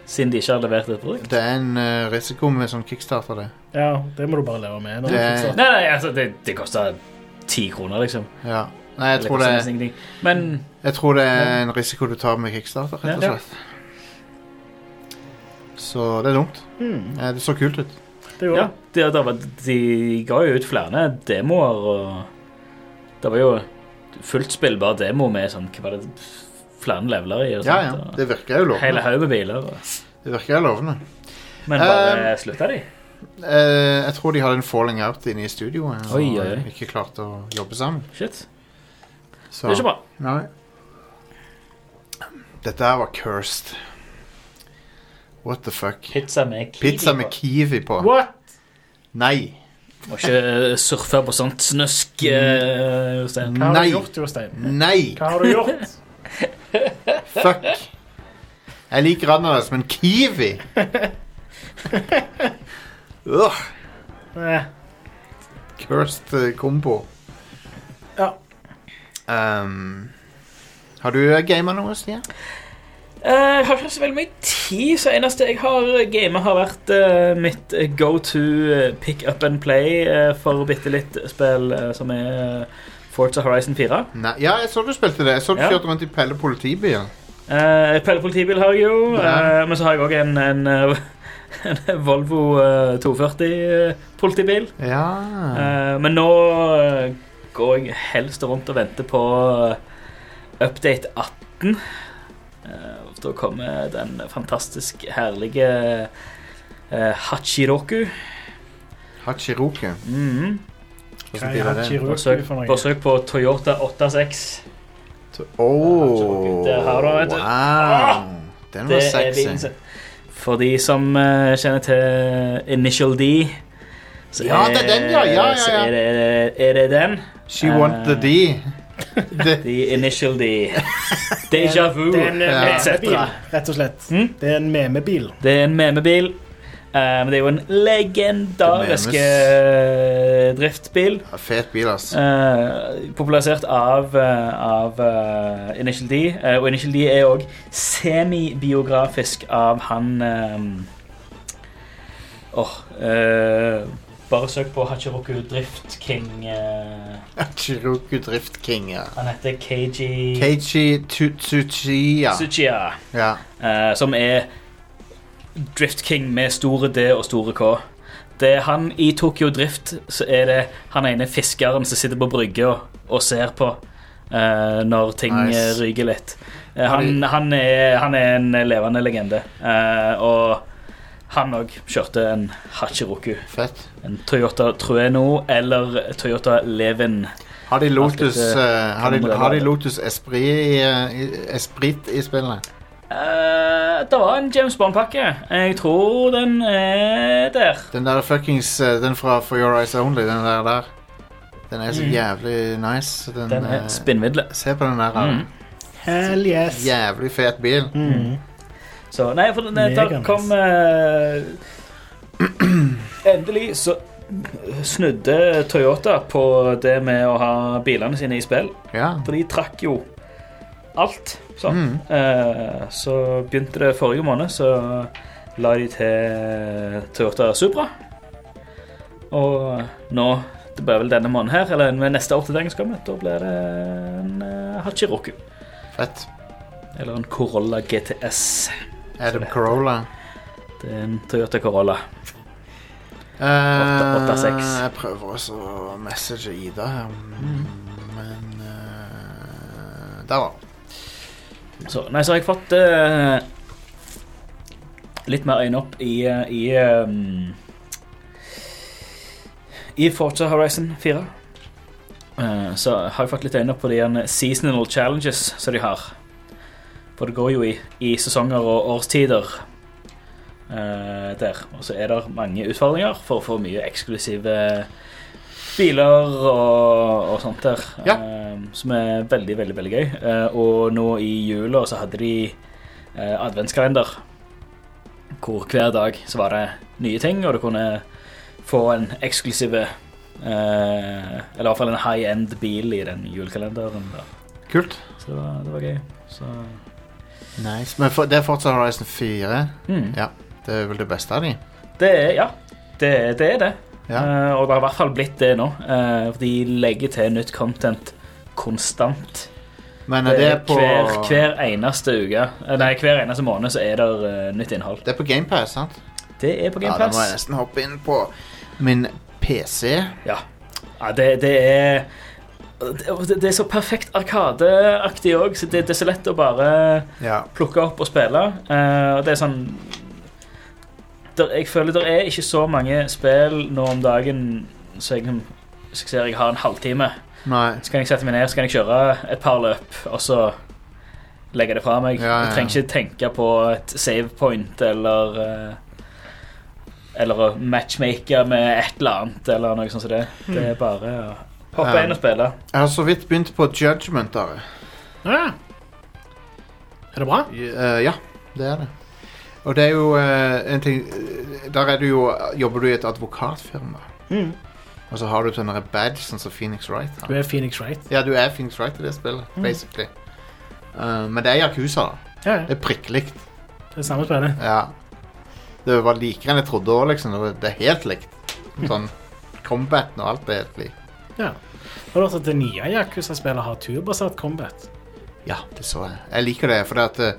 Siden de ikke har levert et produkt? Det er en eh, risiko med sånn kickstarter, det. Ja, det må du bare leve med. når Det- du fortsatt- Nei, nei, altså, det, det koster ti kroner, liksom. Ja. Nei, jeg Eller tror koster det, nesten ingenting. Men- jeg tror det er Ja. en risiko du tar med kickstarter, rett og Ja. slett. Så det er dumt. Mm. Eh, Det så kult ut. Det gjorde ja, det. det var, de ga jo ut flere demoer, og det var jo fullt spillbar demo med sånn, hva var det, flere leveler i. Og Ja, sånt, ja, og det virker jo lovende. Hele haug med biler. Og. Det virker jo lovende. Men bare Eh, slutta de? Eh, jeg tror de hadde en falling out inne i studioet. Og Oi, oi, oi. ikke klarte å jobbe sammen. Shit. Så. Det er ikke bra. Nei. Dette her var cursed. What the fuck? Pizza med kiwi Pizza med på. kiwi på. What? Nei. Må ikke eh, surfe på sånt snusk, Mm. eh, Jostein. Hva har Nei. du gjort, Jostein? Nei! Hva har du gjort? Fuck. Jeg liker ananas, men kiwi Ugh, Eh, Cursed eh, combo. Ja. Ehm, har du gama noe, Stian? Eh, Jeg har ikke så veldig mye tid, så eneste jeg har gamet, har vært eh, mitt go to pick up and play eh, for bitte litt spill eh, som er eh, Forza Horizon 4. Nei. Ja, jeg så du spilte det. Jeg så du Ja. kjørte rundt i Pelle politibil. Uh, Pelle politibil har jeg jo, Ja. eh, men så har jeg òg en, en, eh, en Volvo eh, 240 eh, politibil. Ja. Eh, men nå eh, går jeg helst rundt og venter på eh, update 18. Eh, og da kommer den fantastisk herlige eh, Hachiroku. Hachiroku. Mhm. Hva er Hachiroku Bare søk- for noe? bare søk på Toyota 86. Oh, Der har du den, vet du. wow. Den var Det er bilen sexy. sin. For de som eh, kjenner til Initial D så Ja, det er den, ja. Ja, ja, ja. Så er det, er det den. She Eh. want the D. Det- The Initial D. Deja vu, Det er en eh, etc. memebil, rett og slett. Det er en memebil. Det er en memebil. Eh, Men det er jo en legendarisk Det eh, driftbil. Ja, Fet bil, ass. Eh, popularisert av, eh, av eh, Initial D. eh, og Initial D er òg semibiografisk av han eh, Åh eh, Bare søk på Hachiroku Drift King. eh, Hachiroku Drift King, ja. han heter KG Keiichi Tsutsuchiya. Tsuchiya. Ja. eh, som er Drift King med store D og store K. Det er han i Tokyo Drift, så er det han ene fiskeren som sitter på brygga og, og ser på eh, når ting Nice. eh, ryker litt. Eh, Har han, de- han, er, han er en levende legende. Eh, og han òg kjørte en Hachiroku. Fett. En Toyota Trueno eller Toyota Levin. Har de Lotus, Alt dette eh, har de, kan man har de lage. Lotus Esprit, i, eh, i- Esprit i spillet? Eh, det var en James Bond-pakke. Jeg tror den er der. Den der fuckings eh, Den fra For Your Eyes Only, den der der. Den er så jævlig nice. Den, Mm. Den eh, er spinnvidde. Se på den der. da. Mm. Hell yes. Jævlig fet bil. Mm. Så nei, for den, der Meganice. kom eh, Endelig så snudde Toyota på det med å ha bilene sine i spill. Ja. For de trakk jo alt. Sånn. Mm. Eh, så begynte det forrige måned, så la de til Toyota Supra. Og nå Det blir vel denne måneden her, eller ved neste oppdatering, skal vi. Da blir det en eh, Hachiroku. Fett. Eller en Corolla GTS. Adam Corolla. Det er en Toyota Corolla. Eh, 886. Jeg prøver også å message Ida her, men eh, Der var den. Så, nei, så har jeg fått eh, litt mer øyne opp i, eh, i ehm, I Forza Horizon 4. Eh, så har jeg fått litt øyne opp på de gjerne seasonal challenges som de har. For det går jo i, i sesonger og årstider eh, der. Og så er det mange utfordringer for å få mye eksklusive biler og, og sånt der. Ja. eh, som er veldig, veldig veldig gøy. Eh, og nå i jula så hadde de eh, adventskalender hvor hver dag så var det nye ting, og du kunne få en eksklusiv eh, Eller i hvert fall en high-end bil i den julekalenderen. Da. Kult. Så det var, det var gøy. Så Nice. Men for, det er fortsatt Horizon 4. Mm. Ja, det er vel det beste av de. det er Ja, det, det er det. Eh, og det har i hvert fall blitt det nå. Eh, for de legger til nytt content konstant. Men er det på- Eh, hver, hver eneste uke eh, Nei, hver eneste måned så er det eh, nytt innhold. Det er på GamePass, sant? Det er på Ja, da må jeg GamePass. nesten hoppe inn på min PC. Ja. Ja, det, det er det, det er så perfekt arkadeaktig òg, så det, det er så lett å bare Ja. plukke opp og spille. Eh, og det er sånn der, Jeg føler det er ikke så mange spill nå om dagen så jeg, så jeg ser jeg har en halvtime. Nei. Så kan jeg sette meg ned så kan jeg kjøre et par løp, og så legge det fra meg. Ja, ja, ja. Jeg trenger ikke tenke på et save point eller eh, Eller å matchmake med et eller annet, eller noe sånt som det. Hmm. Det er bare å hoppe Um, inn og spille. Jeg har så vidt begynt på Judgment. Are. Ja. Er det bra? Eh, ja, det er det. Og det er jo eh, en ting eh, Der er du jo, jobber du i et advokatfirma. Mm. Og så har du sånne badge sånn som Phoenix Wright. har. Du er Phoenix Wright. Ja, du er Phoenix Wright i det spillet, Mm. basically. Eh, men det er Yakuza, da. Ja, ja. Det er prikklikt. Det er samme spillet. Ja. Det var likere enn jeg trodde òg, liksom. Det var- Det er helt likt. Sånn combaten og alt er helt likt. Ja. Har du hørt at det nye Yakuza-spillet har turbasert combat? Ja, det så jeg. Jeg liker det, for at eh,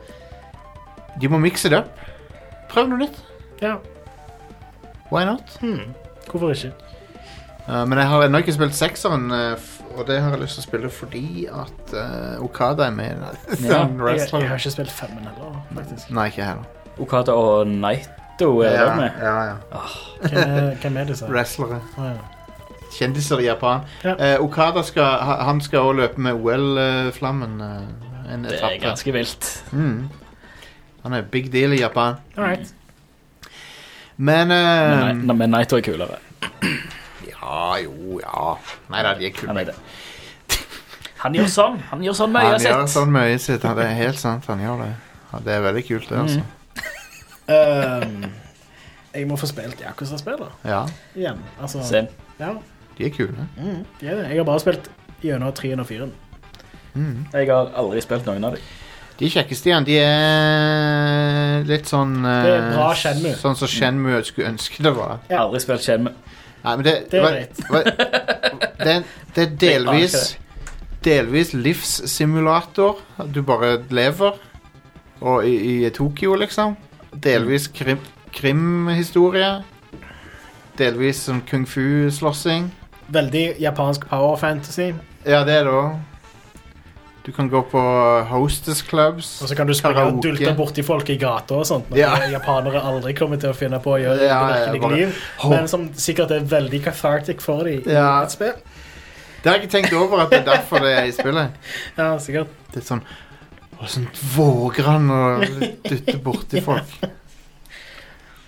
de må mikse det opp. Prøv noe nytt. Ja. Why not? Hmm. Hvorfor ikke? Eh, men jeg har ennå ikke spilt sekseren, eh, f- og det har jeg lyst til å spille fordi at eh, Okada er med. Ja. Som Jeg, wrestler. jeg har ikke spilt femmen heller, faktisk. Nei, ikke jeg heller. Okada og Naito er Ja, der med. ja, ja. Hvem er, hvem er det, sa jeg? Wrestlere. Å, ja. Kjendiser i Japan. Ja. Eh, Okada skal, ha- han skal også løpe med OL-flammen eh, en Det etappe. er ganske vilt. Mm. Han er big deal i Japan. All right. Men eh, Men Ni- Men Naito er kulere. Ja, jo, ja. Nei da, de er kule. Han er det. Han gjør sånn. Han gjør sånn med Han øyet gjør sitt. sånn med øyet sitt. ja, Det er helt sant. Han gjør det. Ja, det er veldig kult, Mm. det, altså. Ehm, jeg må få spilt Yakuza-spillet Ja, igjen. Altså, Same. Ja, de er kule. mm, det er det. Jeg har bare spilt gjennom 3 og 4. Mm. Jeg har aldri spilt noen av dem. De kjekkeste igjen, de er litt sånn eh, Det er bra Shenmue. Sånn som Shenmue skulle ønske det var. Ja. Aldri spilt Shenmue. Nei, men det, Det er hva- greit. hva- det, er- det er delvis Delvis livssimulator. at Du bare lever. Og i, i Tokyo, liksom. Mm. Delvis krim, krimhistorie. Delvis sånn kung fu-slåssing. Veldig japansk power fantasy. Ja, det er det òg. Du kan gå på hostess clubs. Og så kan du springe og karaoke. dulte borti folk i gata og sånt. Når Ja. japanere aldri kommer til å finne på å gjøre i Ja, det ja, virkelige bare- liv. Men som sikkert er veldig cathartic for dem i Ja. et spill. Det har jeg ikke tenkt over at det er derfor det er i spillet. Ja, sikkert. Det er sånn Åssen våger han å dytte borti folk?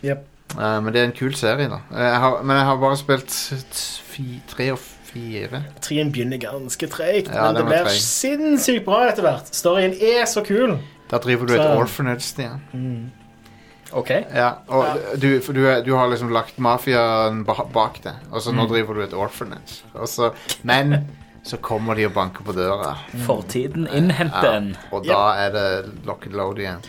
Jep. Eh, men det er en kul serie, da. Eh, Jeg har, men jeg har bare spilt s- s- fi, tre og fire. Trien begynner ganske treigt, Ja, men det den var blir treg. sinnssykt bra etter hvert. Storyen er så kul. Da driver du et Så- Mm. orphanage, Stian. OK. Ja, og Du, for du, er- du har liksom lagt mafiaen ba- bak deg, og så nå Mm. driver du et orphanage. Og så, men så kommer de og banker på døra, Fortiden innhenter Mm. Ja. en. og da er det lock and load igjen.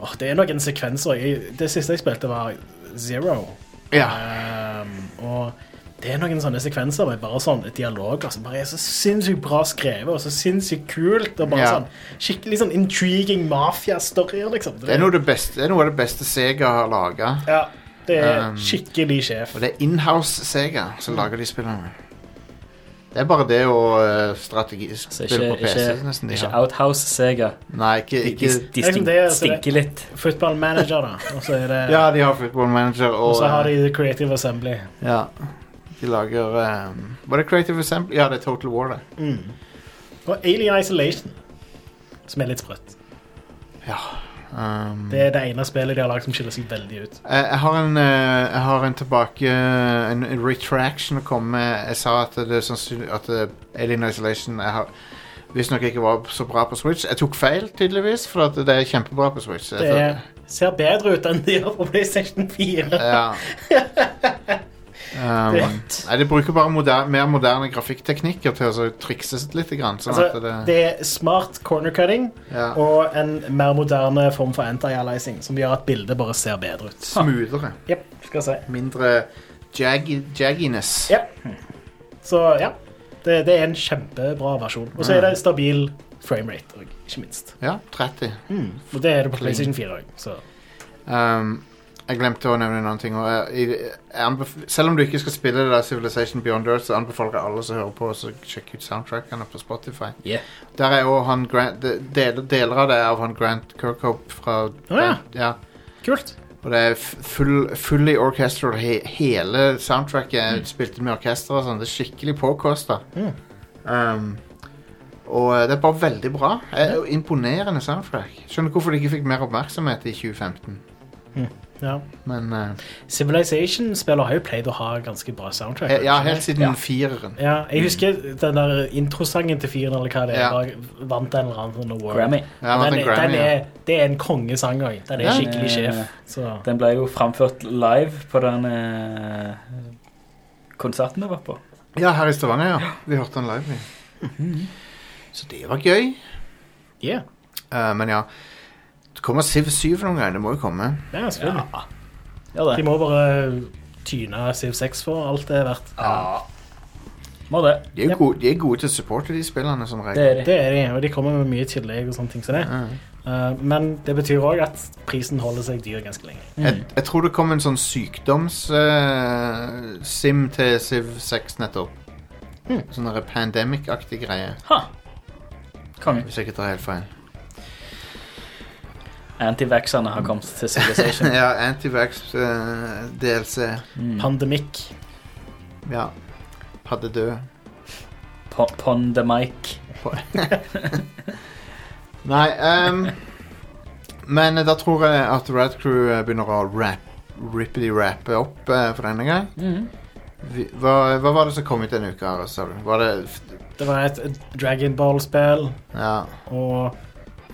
Åh, det er noen sekvenser. Jeg, det siste jeg spilte, var Zero. Ja. Ehm, og det er noen sånne sekvenser med bare sånn dialoger som bare er så sinnssykt bra skrevet og så sinnssykt kult. Og bare Ja. sånn Skikkelig sånn intriguing mafia-storyer, liksom. Det er noe, av det beste, det er noe av det beste Sega har laga. ja, det er Um, skikkelig sjef. Og det er inhouse Sega som lager de spillene. Det er bare det og eh, strategi Så strategispill ikke, på PC nesten ikke, de ikke har. Outhouse Sega. Nei, ikke, De, de, ikke de Nei, men stink, det er- stinker litt. Football manager, da. Og så er det Ja, de har Football Manager og Og så har eh, de The Creative Assembly. Ja. De lager eh, Var det Creative Assembly? Ja, det er Total War, det. Mm. Og Alien Isolation, som er litt sprøtt. Um, Det er det ene spillet de har lagd som skiller seg veldig ut. Jeg jeg har, en, eh, jeg har en tilbake En en retraction å komme med. Jeg sa at det er sannsynlig at eh, Alien Isolation jeg har visstnok ikke var så bra på Switch. Jeg tok feil, tydeligvis, for at det er kjempebra på Switch. Jeg Det tror- er, ser bedre ut enn de gjør på PlayStation 4. Ja. Um, nei, de bruker bare moder mer moderne grafikkteknikker til å så trikse litt. Grann, sånn Altså, at det, det er smart corner cutting Ja. og en mer moderne form for anti-aliasing som gjør at bildet bare ser bedre ut. Smoothere. Jep, skal jeg si. Mindre jaggy, jagginess. Ja. Så ja, det, det er en kjempebra versjon. Og så er Mm. det stabil framerate òg, ikke minst. Ja, 30. Og det er det på Clean. PlayStation 4 òg, så Um, jeg glemte å nevne en annen ting. Og jeg, jeg, anbef- selv om du ikke skal spille det der Civilization Beyond Earth, så anbefaler jeg alle som hører på, å sjekke ut soundtrackene på Spotify. Yeah. Der er også han Grant de- del, Deler av det er av han Grant Kirkhope fra ja. ja. Kult. Og det er f- full, fully orchestral. He, hele soundtracket er spilt med orkester og sånn. Det er skikkelig påkosta. Mm. Um, og eh, det er bare veldig bra. Eh, og Imponerende soundtrack. Skjønner hvorfor de ikke fikk mer oppmerksomhet i 2015. ja. Men eh, Civilization-spiller har jo pleid å ha ganske bra soundtrack. he- ja, ikke helt det? siden ja. fireren. Ja, jeg husker den der introsangen til fyren eller hva det er. Ja. var- Vant en eller annen sånn award. Grammy. Ja, han vant den, en er- Grammy, den ja. er, det er en kongesang òg. Den er Ja. skikkelig sjef. Eh, Så Den ble jo framført live på den eh, konserten vi var på. Ja, her i Stavanger, ja. Vi hørte den live. Mhm. vi. Så det var gøy. yeah. Eh, men ja. Det kommer Siv 7 noen ganger. Det må jo komme. Det er selvfølgelig. Ja, De det. må bare tyne CV6 for alt det er verdt. Må det. De er, jo Yep. gode, de er gode til å supporte de spillene som regel. Det er det. Det er de, og de kommer med mye tillegg og sånne ting som det. Ja. Eh, men det betyr òg at prisen holder seg dyr ganske lenge. Jeg, jeg tror det kom en sånn sykdoms-sim til Civ 6 nettopp. Sånn der pandemic-aktig greie, Ha. Konge. hvis jeg ikke tar helt feil. Antivaxerne har kommet til Civilization. ja, eh, Antivax-DLC. Mm. Pandemikk. ja. Padde død. Po- Pondemic. Nei ehm, Men da tror jeg at Rad Crew eh, begynner å rap, rippity-rappe opp eh, for denne gang. Mhm. Vi, hva, hva var det som kom ut denne uka? her, sa du? Var det Det var et Dragonball-spill Ja. og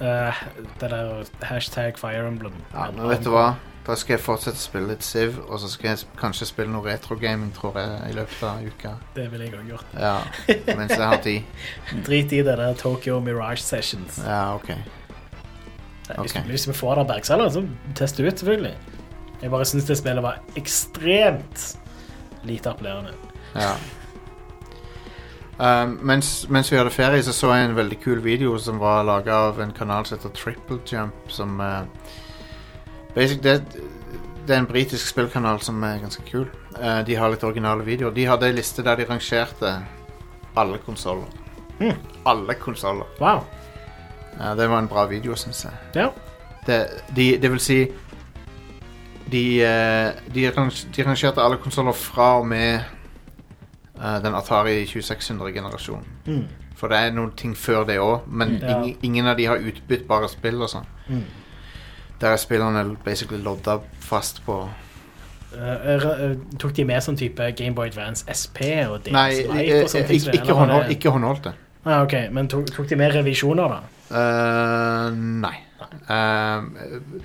eh, det der hashtag Fire Emblem. Ja, men vet du hva? Da skal jeg fortsette å spille litt Siv, og så skal jeg sp- kanskje spille noe retrogaming, tror jeg, i løpet av uka. Det ville jeg òg gjort. Ja, mens jeg har tid. Drit i det der Tokyo Mirage Sessions. Eh, Ja, ok. Hvis, ok. hvis vi får det av Bergseller, så test det ut, selvfølgelig. Jeg bare syns det spillet var ekstremt lite appellerende. Ja. Um, mens, mens vi hadde ferie, så så jeg en veldig kul video som var laga av en kanal som heter Triple Jump, som eh, Basic, det, det er en britisk spillkanal som er ganske kul. Eh, de har litt originale videoer. De hadde ei liste der de rangerte alle konsoller. Mm. Alle konsoller. Wow. Ja, det var en bra video, syns jeg. Ja. Det, de, det vil si De, eh, de, rang- de rangerte alle konsoller fra og med eh, den Atari 2600-generasjonen. Mm. For det er noen ting før det òg, men Mm. Ja. ing, ingen av de har utbyttbare spill og sånn. Mm. Der er spillerne basically lodda fast på Eh, eh, tok de med sånn type Gameboy Advance SP og DS Nei, Lite eh, og sånne eh, ting? ikke, som det, ikke, eller var det- håndhold, ikke håndholdte. Ah, ok, Men tok, tok de med revisjoner, da? Eh, nei. Ehm,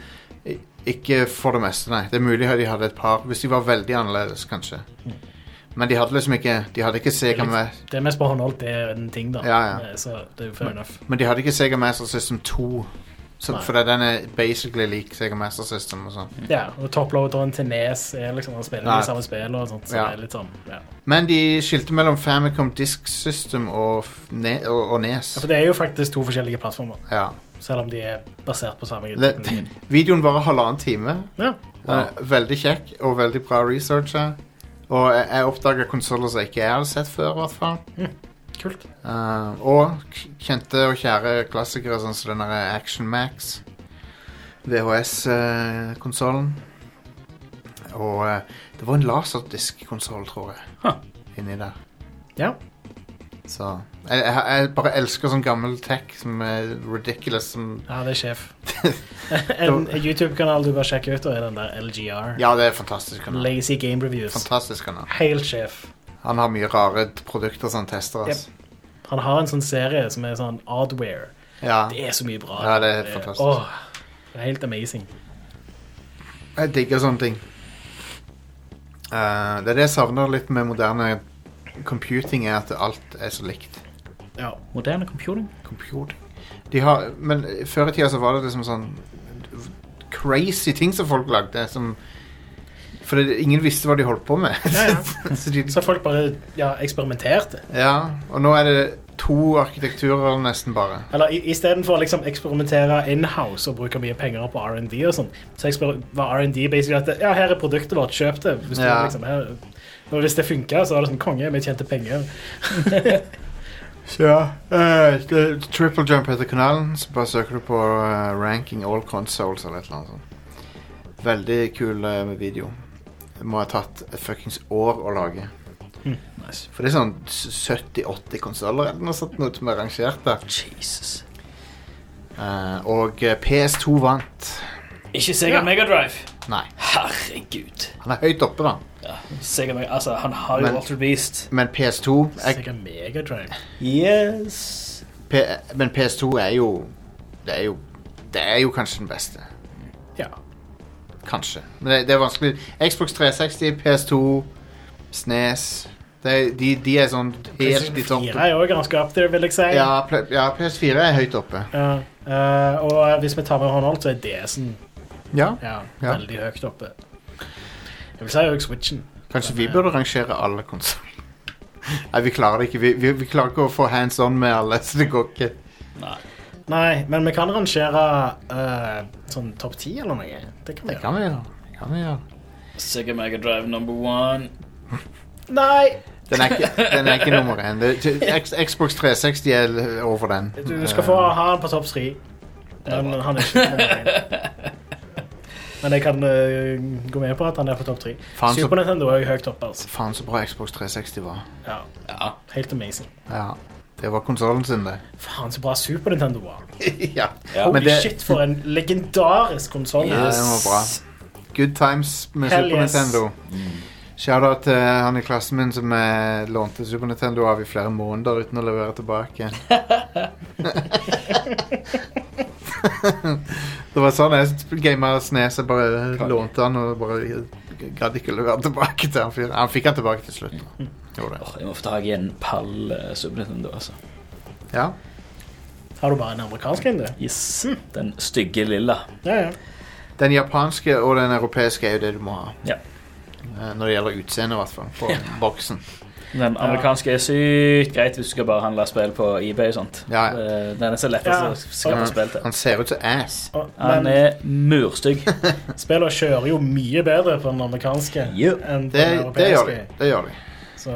eh, ikke for det meste, nei. Det er mulig at de hadde et par, hvis de var veldig annerledes, kanskje. Men de hadde liksom ikke De hadde ikke Sega litt- Ma- Det er mest bare håndholdt, det er en ting, da. Ja, ja. Eh, Så det er jo fair enough. Men de hadde ikke Sega Master System 2. Så, Nei. for den er basically lik Sega Master System. Og sånn. Ja, og toploaderen til Nes er liksom Han spiller Nei. de samme spillene og sånt, så Ja. det er litt sånn ja. Men de skilte mellom Famicom Disk System og, f- ne og, og ja, Nes. For det er jo faktisk to forskjellige plattformer, Ja. selv om de er basert på samme Det, teknologi. videoen varer halvannen time. Ja. Eh, Veldig kjekk og veldig bra researcha. Og jeg, jeg oppdaga konsoller som jeg ikke hadde sett før. i hvert fall. Kult. Eh, og k- kjente og kjære klassikere sånn som den der Action Max. VHS-konsollen. og eh, det var en laserdisk-konsoll, tror jeg, Huh. inni der. Ja. Så jeg, jeg, jeg bare elsker sånn gammel tech som er ridiculous som Ja, det er sjef. en YouTube-kanal du bør sjekke ut, og er den der LGR. Ja, det er fantastisk kanal. Lazy Game Reviews. Fantastisk kanal. Helt sjef. Han har mye rare produkter som han tester. Altså. Han har en sånn serie som er sånn oddware. Ja. Det er så mye bra. Ja, det er fantastisk. Åh, det er helt amazing. Jeg digger sånne ting. Eh, det er det jeg savner litt med moderne computing, er at alt er så likt. Ja. Moderne computing. Computing. De har, men før i tida så var det liksom sånn crazy ting som folk lagde. Som, for det, ingen visste hva de holdt på med. Ja, ja. Så, de, Så folk bare ja, eksperimenterte. ja, og nå er det to arkitekturer nesten bare. Eller i- istedenfor å liksom eksperimentere inhouse og bruke mye penger på R&D og sånn, så eksper- var R&D basically at ja, her er produktet vårt, kjøp det. Hvis, du Ja. liksom, her, og hvis det funka, så var det sånn konge, vi tjente penger. Så ja, eh, det- Triple Jump heter kanalen, så bare søker du på eh, ranking all consoles eller et eller annet sånt. Veldig kul eh, video. Det må ha tatt et fuckings år å lage. Mm. Nice. For det er sånn s- 70-80 konsoller eller noe sånt noe som er rangert der. Jesus. og eh, PS2 vant. Ikke Sega Ja. Megadrive. Nei. Herregud. Han er høyt oppe, da. Ja, Sega Meg altså, han har jo Men- Walter Beast. Men PS2 er, Sega Mega Drive. Yes. P, Men PS2 er jo Det er jo Det er jo kanskje den beste. Ja. Kanskje. Men det, det er vanskelig. Xbox 360, PS2, SNES det, er- de, de er sånn helt i Fire toppen. er jo ganske up there, vil jeg si. Ja, pl- ja, PS4 er høyt oppe. Ja, eh, og hvis vi tar med håndholdt, så er DS-en Ja. ja, Ja. veldig høyt oppe. Jeg vil si òg Switchen. Kanskje vi burde rangere alle konsoller. Nei, vi klarer det ikke. Vi, vi, vi klarer ikke å få hands on med alle, så det går ikke. Nei, men vi kan rangere eh, sånn topp ti eller noe. Det kan vi Det kan vi gjøre. Det kan vi gjøre. Sega Megadrive number one. Nei! Den er ikke, den er ikke nummer én. Det- X- Xbox 360 er over den. Du, du skal få ha den på topp tre. Men han er ikke nummer én. Men jeg kan eh, gå med på at han er på topp tre. Faen, så- Super Nintendo er jo høyt oppe. Altså. Faen så bra Xbox 360 var. Ja. Ja. Helt amazing. Ja, Det var konsollen sin, det. Faen, så bra Super Nintendo var. ja. Holy Men det- shit, for en legendarisk konsoll. Ja, den var bra. Good times med Hell Super yes. Nintendo. Shout-out til han i klassen min som eh, lånte Super Nintendo av i flere måneder uten å levere tilbake. det var sånn jeg gama Snes. Jeg bare lånte han og bare gadd ikke å levere tilbake til han fyren. Han fikk han tilbake til slutt. Gjorde det. Åh, jeg må få tak i en pall eh, Super Nintendo, altså. Ja. Har du bare en amerikansk en, du? Yes. Den stygge lilla. Ja, ja. Den japanske og den europeiske er jo det du må ha. Ja. Eh, Når det gjelder utseende, i hvert fall. På boksen. Den amerikanske er sykt greit hvis du skal bare handle spill på eBay og sånt. Ja, ja. Eh, Den er så lett Ja. å skaffe spill til. Han ser ut som ass. Og- Han Men eh, er murstygg. spillene kjører jo mye bedre på den amerikanske Jo. enn på Det, den det, gjør de. europeiske. det gjør de. Så,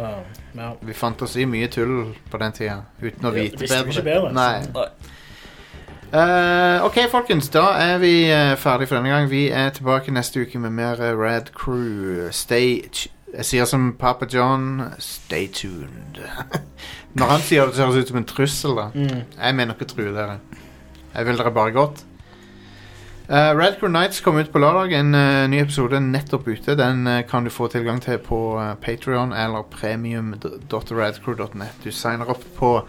ja. Vi fant oss i mye tull på den tida uten å Ja, vite visste vi bedre. ikke bedre, altså. Nei. så- Nei. Eh, OK, folkens. Da er vi eh, ferdig for denne gang. Vi er tilbake neste uke med mer eh, Rad Crew. Stay t- Jeg sier som Papa John stay tuned. Når han sier det, så høres det ut som en trussel. da Mm. Jeg mener ikke å true dere. Jeg vil dere bare godt. Eh, Red Crew Nights kom ut på lørdag. En eh, ny episode er nettopp ute. Den eh, kan du få tilgang til på uh, Patrion eller premium.radcrew.net. Du signer opp på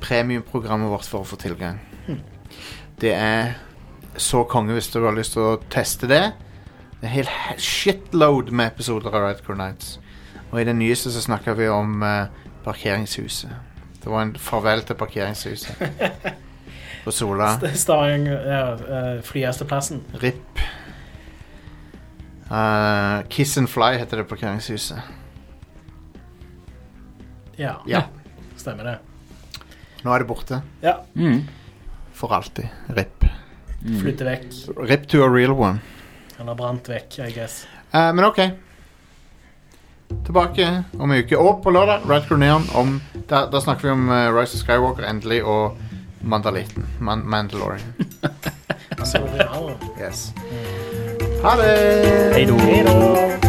premiumprogrammet vårt for å få tilgang. Det er så konge hvis du har lyst til å teste det. Det er en hel he- shitload med episoder av Red Crew Nights. Og i den nyeste så snakker vi om eh, parkeringshuset. Det var en farvel til parkeringshuset. På Sola. Stavang ja, eh, Flyhesteplassen. RIP. Eh, Kiss and Fly heter det parkeringshuset. Ja, Ja, stemmer det. nå er det borte. Ja, Mm. For alltid. RIP. flytte vekk. RIP to a real one. Eller brant vekk, I guess. Eh, men OK. Tilbake om en uke. Og på lørdag, Red Crew Neon. Om, da, da snakker vi om eh, Rise of Skywalker endelig, og Mandaliten. Man Mandalorian. Så, ja. Yes. Ha det! Hei då. Hei da.